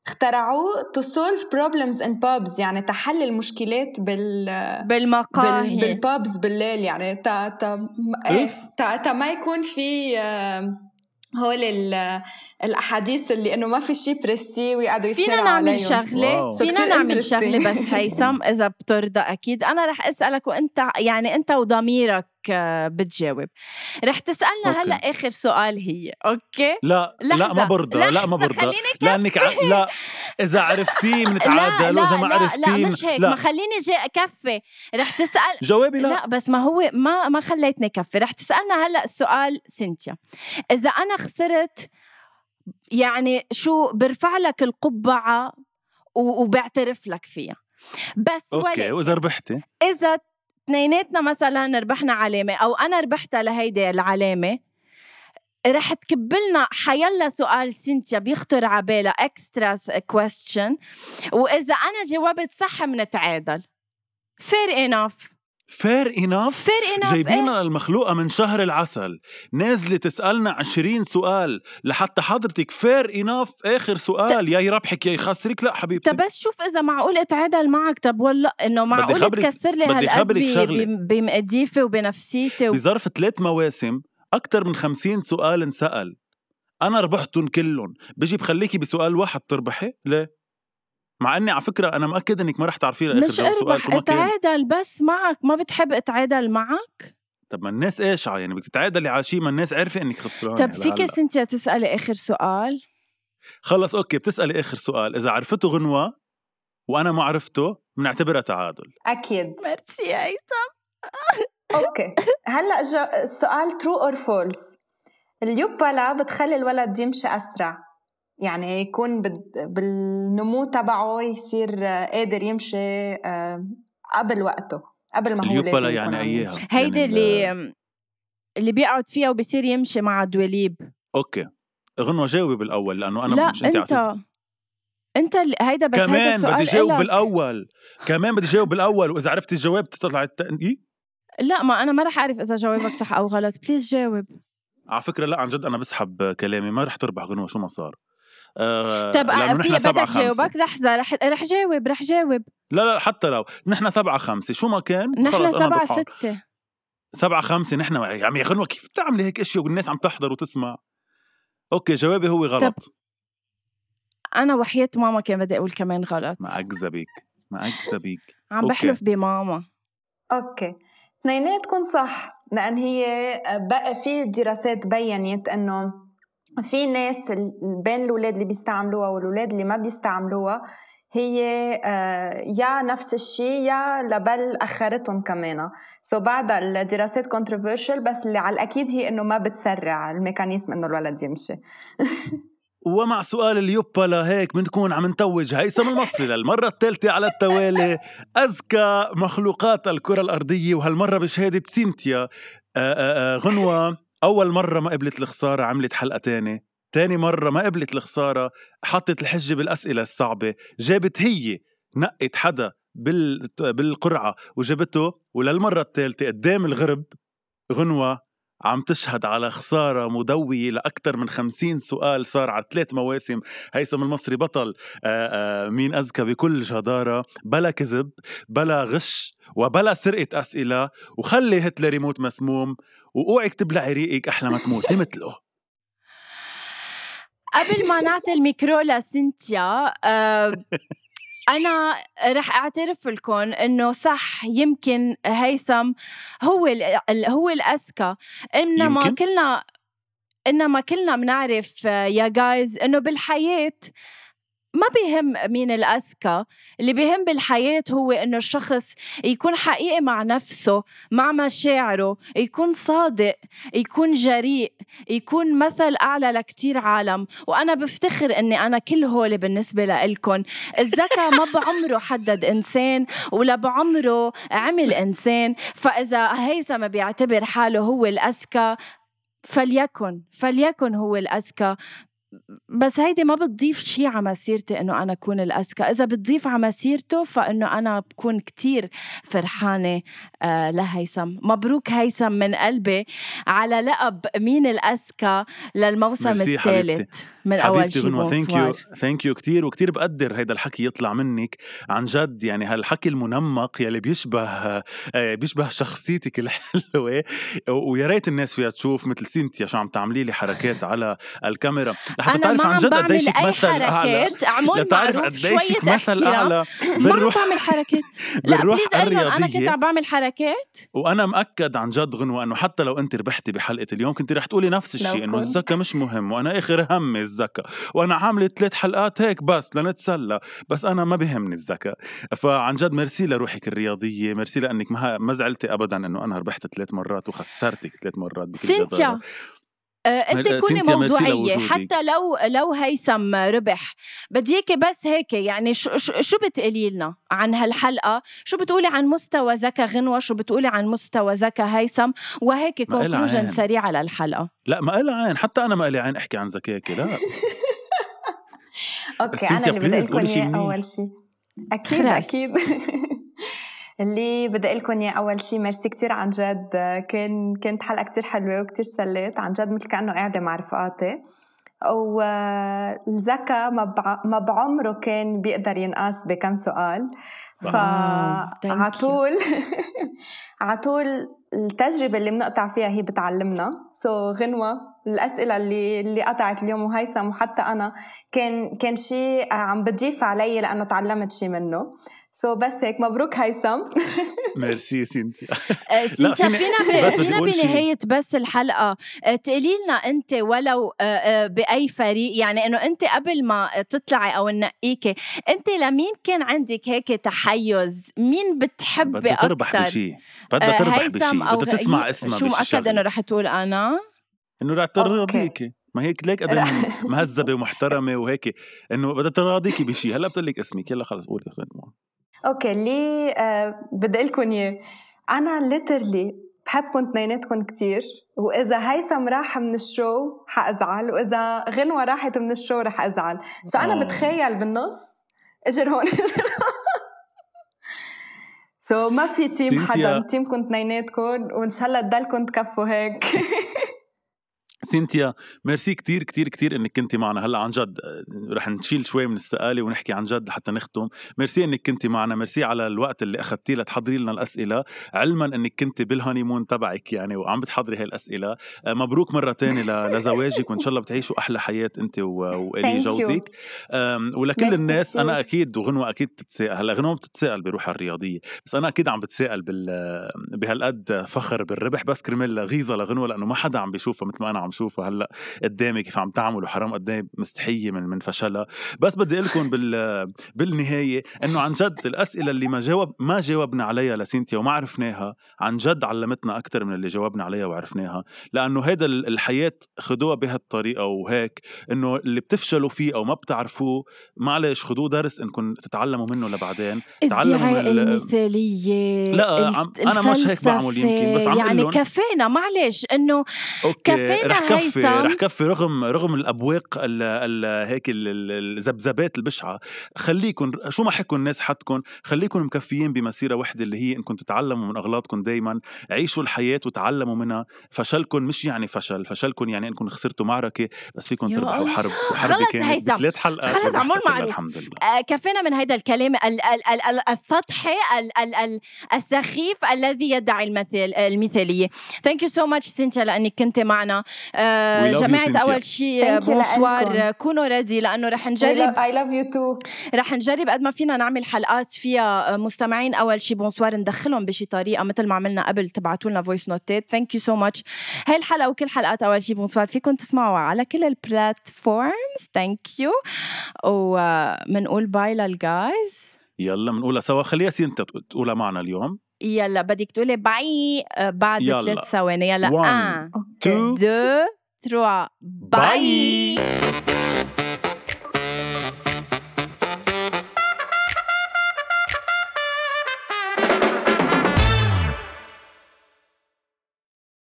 اخترعوه to solve problems in pubs يعني تحل المشكلات بال بال... بالمقاهي بالبابز بالليل يعني تا تا ايه أوف. تا, تا ما يكون في آه، هول ال- الاحاديث اللي انه ما في شيء بريستي ويقعدوا يتشارعوا فينا نعمل عليهم. شغله واو. So فينا كتير نعمل interesting. شغله بس هيثم اذا بترضى اكيد انا رح اسالك وانت يعني انت وضميرك آه، بتجاوب رح تسالنا أوكي. هلا اخر سؤال هي اوكي لا لا لحظة، ما برضى لا ما لحظة، برضى خليني لانك ع... لا اذا عرفتيه بنتعادل واذا ما لا لا عرفتيه مش هيك لا. ما خليني جاي اكفي رح تسال جوابي لا. لا, لا بس ما هو ما ما خليتني كفي رح تسالنا هلا السؤال سنتيا اذا انا خسرت يعني شو برفع لك القبعه و- وبعترف لك فيها بس اوكي ولكن واذا ربحتي اذا اثنيناتنا مثلا ربحنا علامه او انا ربحت لهيدي العلامه رح تكبلنا حيلا سؤال سنتيا بيخطر على بالها اكسترا كويستشن واذا انا جاوبت صح منتعادل فير انف فير اناف فير انف جايبينا المخلوقة من شهر العسل نازلة تسألنا عشرين سؤال لحتى حضرتك فير اناف آخر سؤال يا يربحك يا يخسرك لا حبيبتي طب بس شوف اذا معقول اتعادل معك طب والله انه معقول خبرك- تكسر لي بدي هالقد خبرك ب- شغلة. بم- بمقديفي وبنفسيتي و... بظرف ثلاث مواسم أكثر من خمسين سؤال انسأل أنا ربحتهم كلهم بجي بخليكي بسؤال واحد تربحي ليه؟ مع اني على فكره انا مأكد انك ما رح تعرفي لاخر مش جواب سؤال شو اربح ما كان اتعادل بس معك ما بتحب اتعادل معك طب ما الناس قاشعه يعني بدك تتعادلي على شيء ما الناس عارفه انك خسرانه طب هلا فيك هلا. سنتيا تسالي اخر سؤال خلص اوكي بتسالي اخر سؤال اذا عرفته غنوه وانا ما عرفته بنعتبرها تعادل اكيد ميرسي يا ايسا اوكي هلا جو- السؤال ترو اور فولس اليوبلا بتخلي الولد يمشي اسرع يعني يكون بد- بالنمو تبعه يصير آه، قادر يمشي آه، قبل وقته قبل ما هو لازم اليوبلا يكون يعني عم يمشي. اياها هيدي يعني ال- اللي اللي بيقعد فيها وبصير يمشي مع الدواليب اوكي غنوه جاوبي بالاول لانه انا لا مش انت, عطيتني. انت انت اللي- هيدا بس هيدا كمان السؤال بدي جاوب إلك. بالاول كمان بدي جاوب بالاول واذا عرفت الجواب تطلع إيه؟ التنقي لا ما انا ما رح اعرف اذا جاوبك صح او غلط بليز جاوب على فكره لا عن جد انا بسحب كلامي ما رح تربح غنوه شو ما صار آه طب لأنه طيب، في نحن سبعة بدك خمسة. جاوبك لحظه رح رح جاوب رح جاوب لا لا حتى لو نحن سبعة خمسة شو ما كان نحن خلص أنا سبعة بقطعهم. ستة سبعة خمسة نحن عم يا غنوة كيف بتعملي هيك اشياء والناس عم تحضر وتسمع اوكي جوابي هو غلط أنا وحياة ماما كان بدي أقول كمان غلط ما اكذبك ما اكذبك عم أوكي. بحلف بماما اوكي اثنيناتكم صح لان هي آه، بقى في دراسات بينت انه في ناس ال- بين الاولاد اللي بيستعملوها والاولاد اللي ما بيستعملوها هي آه، يا نفس الشيء يا لبل اخرتهم كمان سو بعد الدراسات كونتروفيرشل بس اللي على الاكيد هي انه ما بتسرع الميكانيزم انه الولد يمشي ومع سؤال اليوبلا هيك بنكون عم نتوج هيثم المصري للمرة الثالثة على التوالي أذكى مخلوقات الكرة الأرضية وهالمرة بشهادة سينتيا آه، آه، آه، غنوة أول مرة ما قبلت الخسارة عملت حلقة تانية تاني مرة ما قبلت الخسارة حطت الحجة بالأسئلة الصعبة جابت هي نقت حدا بال... بالقرعة وجابته وللمرة الثالثة قدام الغرب غنوة عم تشهد على خسارة مدوية لأكثر من خمسين سؤال صار على ثلاث مواسم هيثم المصري بطل آآ آآ مين أذكى بكل جدارة بلا كذب بلا غش وبلا سرقة أسئلة وخلي هتلر يموت مسموم وأوعك تبلعي ريقك أحلى ما تموتي مثله قبل ما نعطي الميكرو لسنتيا آه، أنا رح أعترف لكم إنه صح يمكن هيثم هو ال- ال- هو الأذكى إنما يمكن؟ كلنا إنما كلنا بنعرف آه، يا جايز إنه بالحياة ما بيهم مين الأذكى اللي بيهم بالحياة هو إنه الشخص يكون حقيقي مع نفسه مع مشاعره يكون صادق يكون جريء يكون مثل أعلى لكتير عالم وأنا بفتخر أني أنا كل هول بالنسبة لإلكن الذكاء ما بعمره حدد إنسان ولا بعمره عمل إنسان فإذا هيثم بيعتبر حاله هو الأذكى فليكن فليكن هو الأذكى بس هيدي ما بتضيف شيء على مسيرتي انه انا اكون الاذكى، اذا بتضيف على مسيرته فانه انا بكون كتير فرحانه آه لهيثم، مبروك هيثم من قلبي على لقب مين الاذكى للموسم ميرسي الثالث من اول حبيبتي شيء غنوة ثانك يو بونسوار ثانك يو كثير وكثير بقدر هيدا الحكي يطلع منك عن جد يعني هالحكي المنمق يلي بيشبه آه، بيشبه شخصيتك الحلوه و- ويا ريت الناس فيها تشوف مثل سينتيا شو عم تعملي لي حركات على الكاميرا لحتى انا ما تعرف عن عم جد قديش بعمل اي مثل أعلى حركات اعمل لتعرف معروف قديش شويه شيك مثل احترام أعلى ما عم بنروح بعمل حركات لا بنروح بليز أيمن انا الرياضية. كنت عم بعمل حركات وانا مأكد عن جد غنوة انه حتى لو انت ربحتي بحلقة اليوم كنت رح تقولي نفس لو الشيء انه كنت. الزكاة مش مهم وانا اخر همي الزكاة وانا عاملة ثلاث حلقات هيك بس لنتسلى بس انا ما بهمني الزكاة فعن جد ميرسي لروحك الرياضية ميرسي لانك ما ما زعلتي ابدا انه انا ربحت ثلاث مرات وخسرتك ثلاث مرات بكل سينتيا جدارة. آه، انت هلا كوني سينتيا، ميرسي موضوعيه لوجودك. حتى لو لو هيثم ربح بدي اياكي بس هيك يعني شو شو, شو بتقولي لنا عن هالحلقه شو بتقولي عن مستوى زكا غنوه شو بتقولي عن مستوى زكا هيثم وهيك ما إلها عين. كونكلوجن سريعه للحلقه لا ما لها عين حتى انا ما لي عين احكي عن زكاكي لا اوكي سينتيا انا اللي بدي بليز لكم قولي شي اياه منيح. اول شيء اكيد خلاص. اكيد اللي بدي اقول لكم اياه اول شيء ميرسي كثير عن جد كان كانت حلقه كثير حلوه وكثير سليت عن جد مثل كانه قاعده مع رفقاتي آه، والزكا ما بع- ما بعمره كان بيقدر ينقاس بكم سؤال Wow. Thank فعلى you. طول على طول التجربه اللي بنقطع فيها هي بتعلمنا سو so, غنوه الاسئله اللي اللي قطعت اليوم وهيثم وحتى انا كان كان شيء عم بتضيف علي لانه تعلمت شيء منه سو so, بس هيك مبروك هيثم ميرسي سينتيا آه، سينتيا فيني- فينا بس ب... بدي فينا أقول شي. بنهايه بس الحلقه آه، تقولي لنا انت ولو آه، آه، باي فريق يعني انه انت قبل ما تطلعي او ننقيكي انت لمين كان عندك هيك تحيز مين بتحبي بدها تربح اكثر بشيء بدها آه، تربح بشيء أو بدها تسمع غ- اسمها شو مؤكد بالشغلة. انه رح تقول انا انه رح ترضيكي ما هيك ليك قد رح- مهذبه ومحترمه وهيك انه بدها تراضيكي بشيء هلا بتقول لك اسمك يلا خلص قولي غنوة اوكي اللي آه بدي اقول لكم اياه انا ليترلي بحبكم اثنيناتكم كثير واذا هيثم راح من الشو حازعل واذا غنوه راحت من الشو رح ازعل سو آه. انا بتخيل بالنص اجر هون اجر سو ما في تيم سينتيا. حدا تيمكم اثنيناتكم وان شاء الله تضلكم تكفوا هيك سينتيا ميرسي كتير كتير كتير انك كنتي معنا هلا عن جد آه، رح نشيل شوي من السقاله ونحكي عن جد لحتى نختم ميرسي انك كنتي معنا ميرسي على الوقت اللي اخذتيه لتحضري لنا الاسئله علما انك كنتي بالهانيمون تبعك يعني وعم بتحضري هاي الاسئله آه، مبروك مره تانية ل- لزواجك وان شاء الله بتعيشوا احلى حياه انت و- والي Thank you. جوزك آم، ولكل ميرسي الناس انا كتير. اكيد وغنوه اكيد بتتساءل هلا غنوه بتتساءل بروحها الرياضيه بس انا اكيد عم بتساءل بال بهالقد فخر بالربح بس كرمال غيظه لغنوه لانه ما حدا عم بيشوفها مثل ما انا عم شوفها هلا قدامي كيف عم تعمل وحرام قد إيه مستحيه من من فشلها بس بدي اقول لكم بال بالنهايه انه عن جد الاسئله اللي ما جاوب ما جاوبنا عليها لسينتيا وما عرفناها عن جد علمتنا اكثر من اللي جاوبنا عليها وعرفناها لانه هيدا ال- الحياه خدوها بهالطريقه وهيك انه اللي بتفشلوا فيه او ما بتعرفوه معلش خدوه درس انكم تتعلموا منه لبعدين تعلموا من الدعاء ال- المثاليه لا، عم- أنا مش هيك بعمل يمكن، بس الفلسفة، عم قل يعني لهم. كفينا معلش انه اوكي كفينا رح كفي هيثم. رح كفي رغم رغم الابواق ال ال هيك ال- ال- الذبذبات البشعه خليكم شو ما حكوا الناس حتكم خليكم مكفيين بمسيره وحده اللي هي انكم تتعلموا من اغلاطكم دائما عيشوا الحياه وتعلموا منها فشلكم مش يعني فشل فشلكم يعني انكم خسرتوا معركه بس فيكم يا تربحوا الله. حرب وحرب خلص كانت هيثم. بثلاث حلقات خلص ربحتها عمول كلها، معروف. الحمد لله آه، كفينا من هيدا الكلام ال- ال- ال- ال- السطحي ال- ال- ال- السخيف الذي يدعي المثال المثاليه ثانك يو سو ماتش سينتيا لانك كنت معنا آه، We love you، جماعه سينتيا. اول شيء Thank you لإلكم. بونسوار كونوا ريدي لانه رح نجرب I love you too رح نجرب قد ما فينا نعمل حلقات فيها آه، مستمعين اول شي بونسوار ندخلهم بشي طريقه مثل ما عملنا قبل تبعتوا لنا فويس نوتات ثانك يو سو ماتش هاي الحلقه وكل حلقات اول شي بونسوار فيكم تسمعوا على كل البلاتفورمز ثانك يو وبنقول باي للجايز يلا بنقولها سوا خليها سينتا تق- تقولها معنا اليوم يلا بدك تقولي باي آه، بعد يلا. ثلاث ثواني يلا آه. One, 1 تو 2 3 باي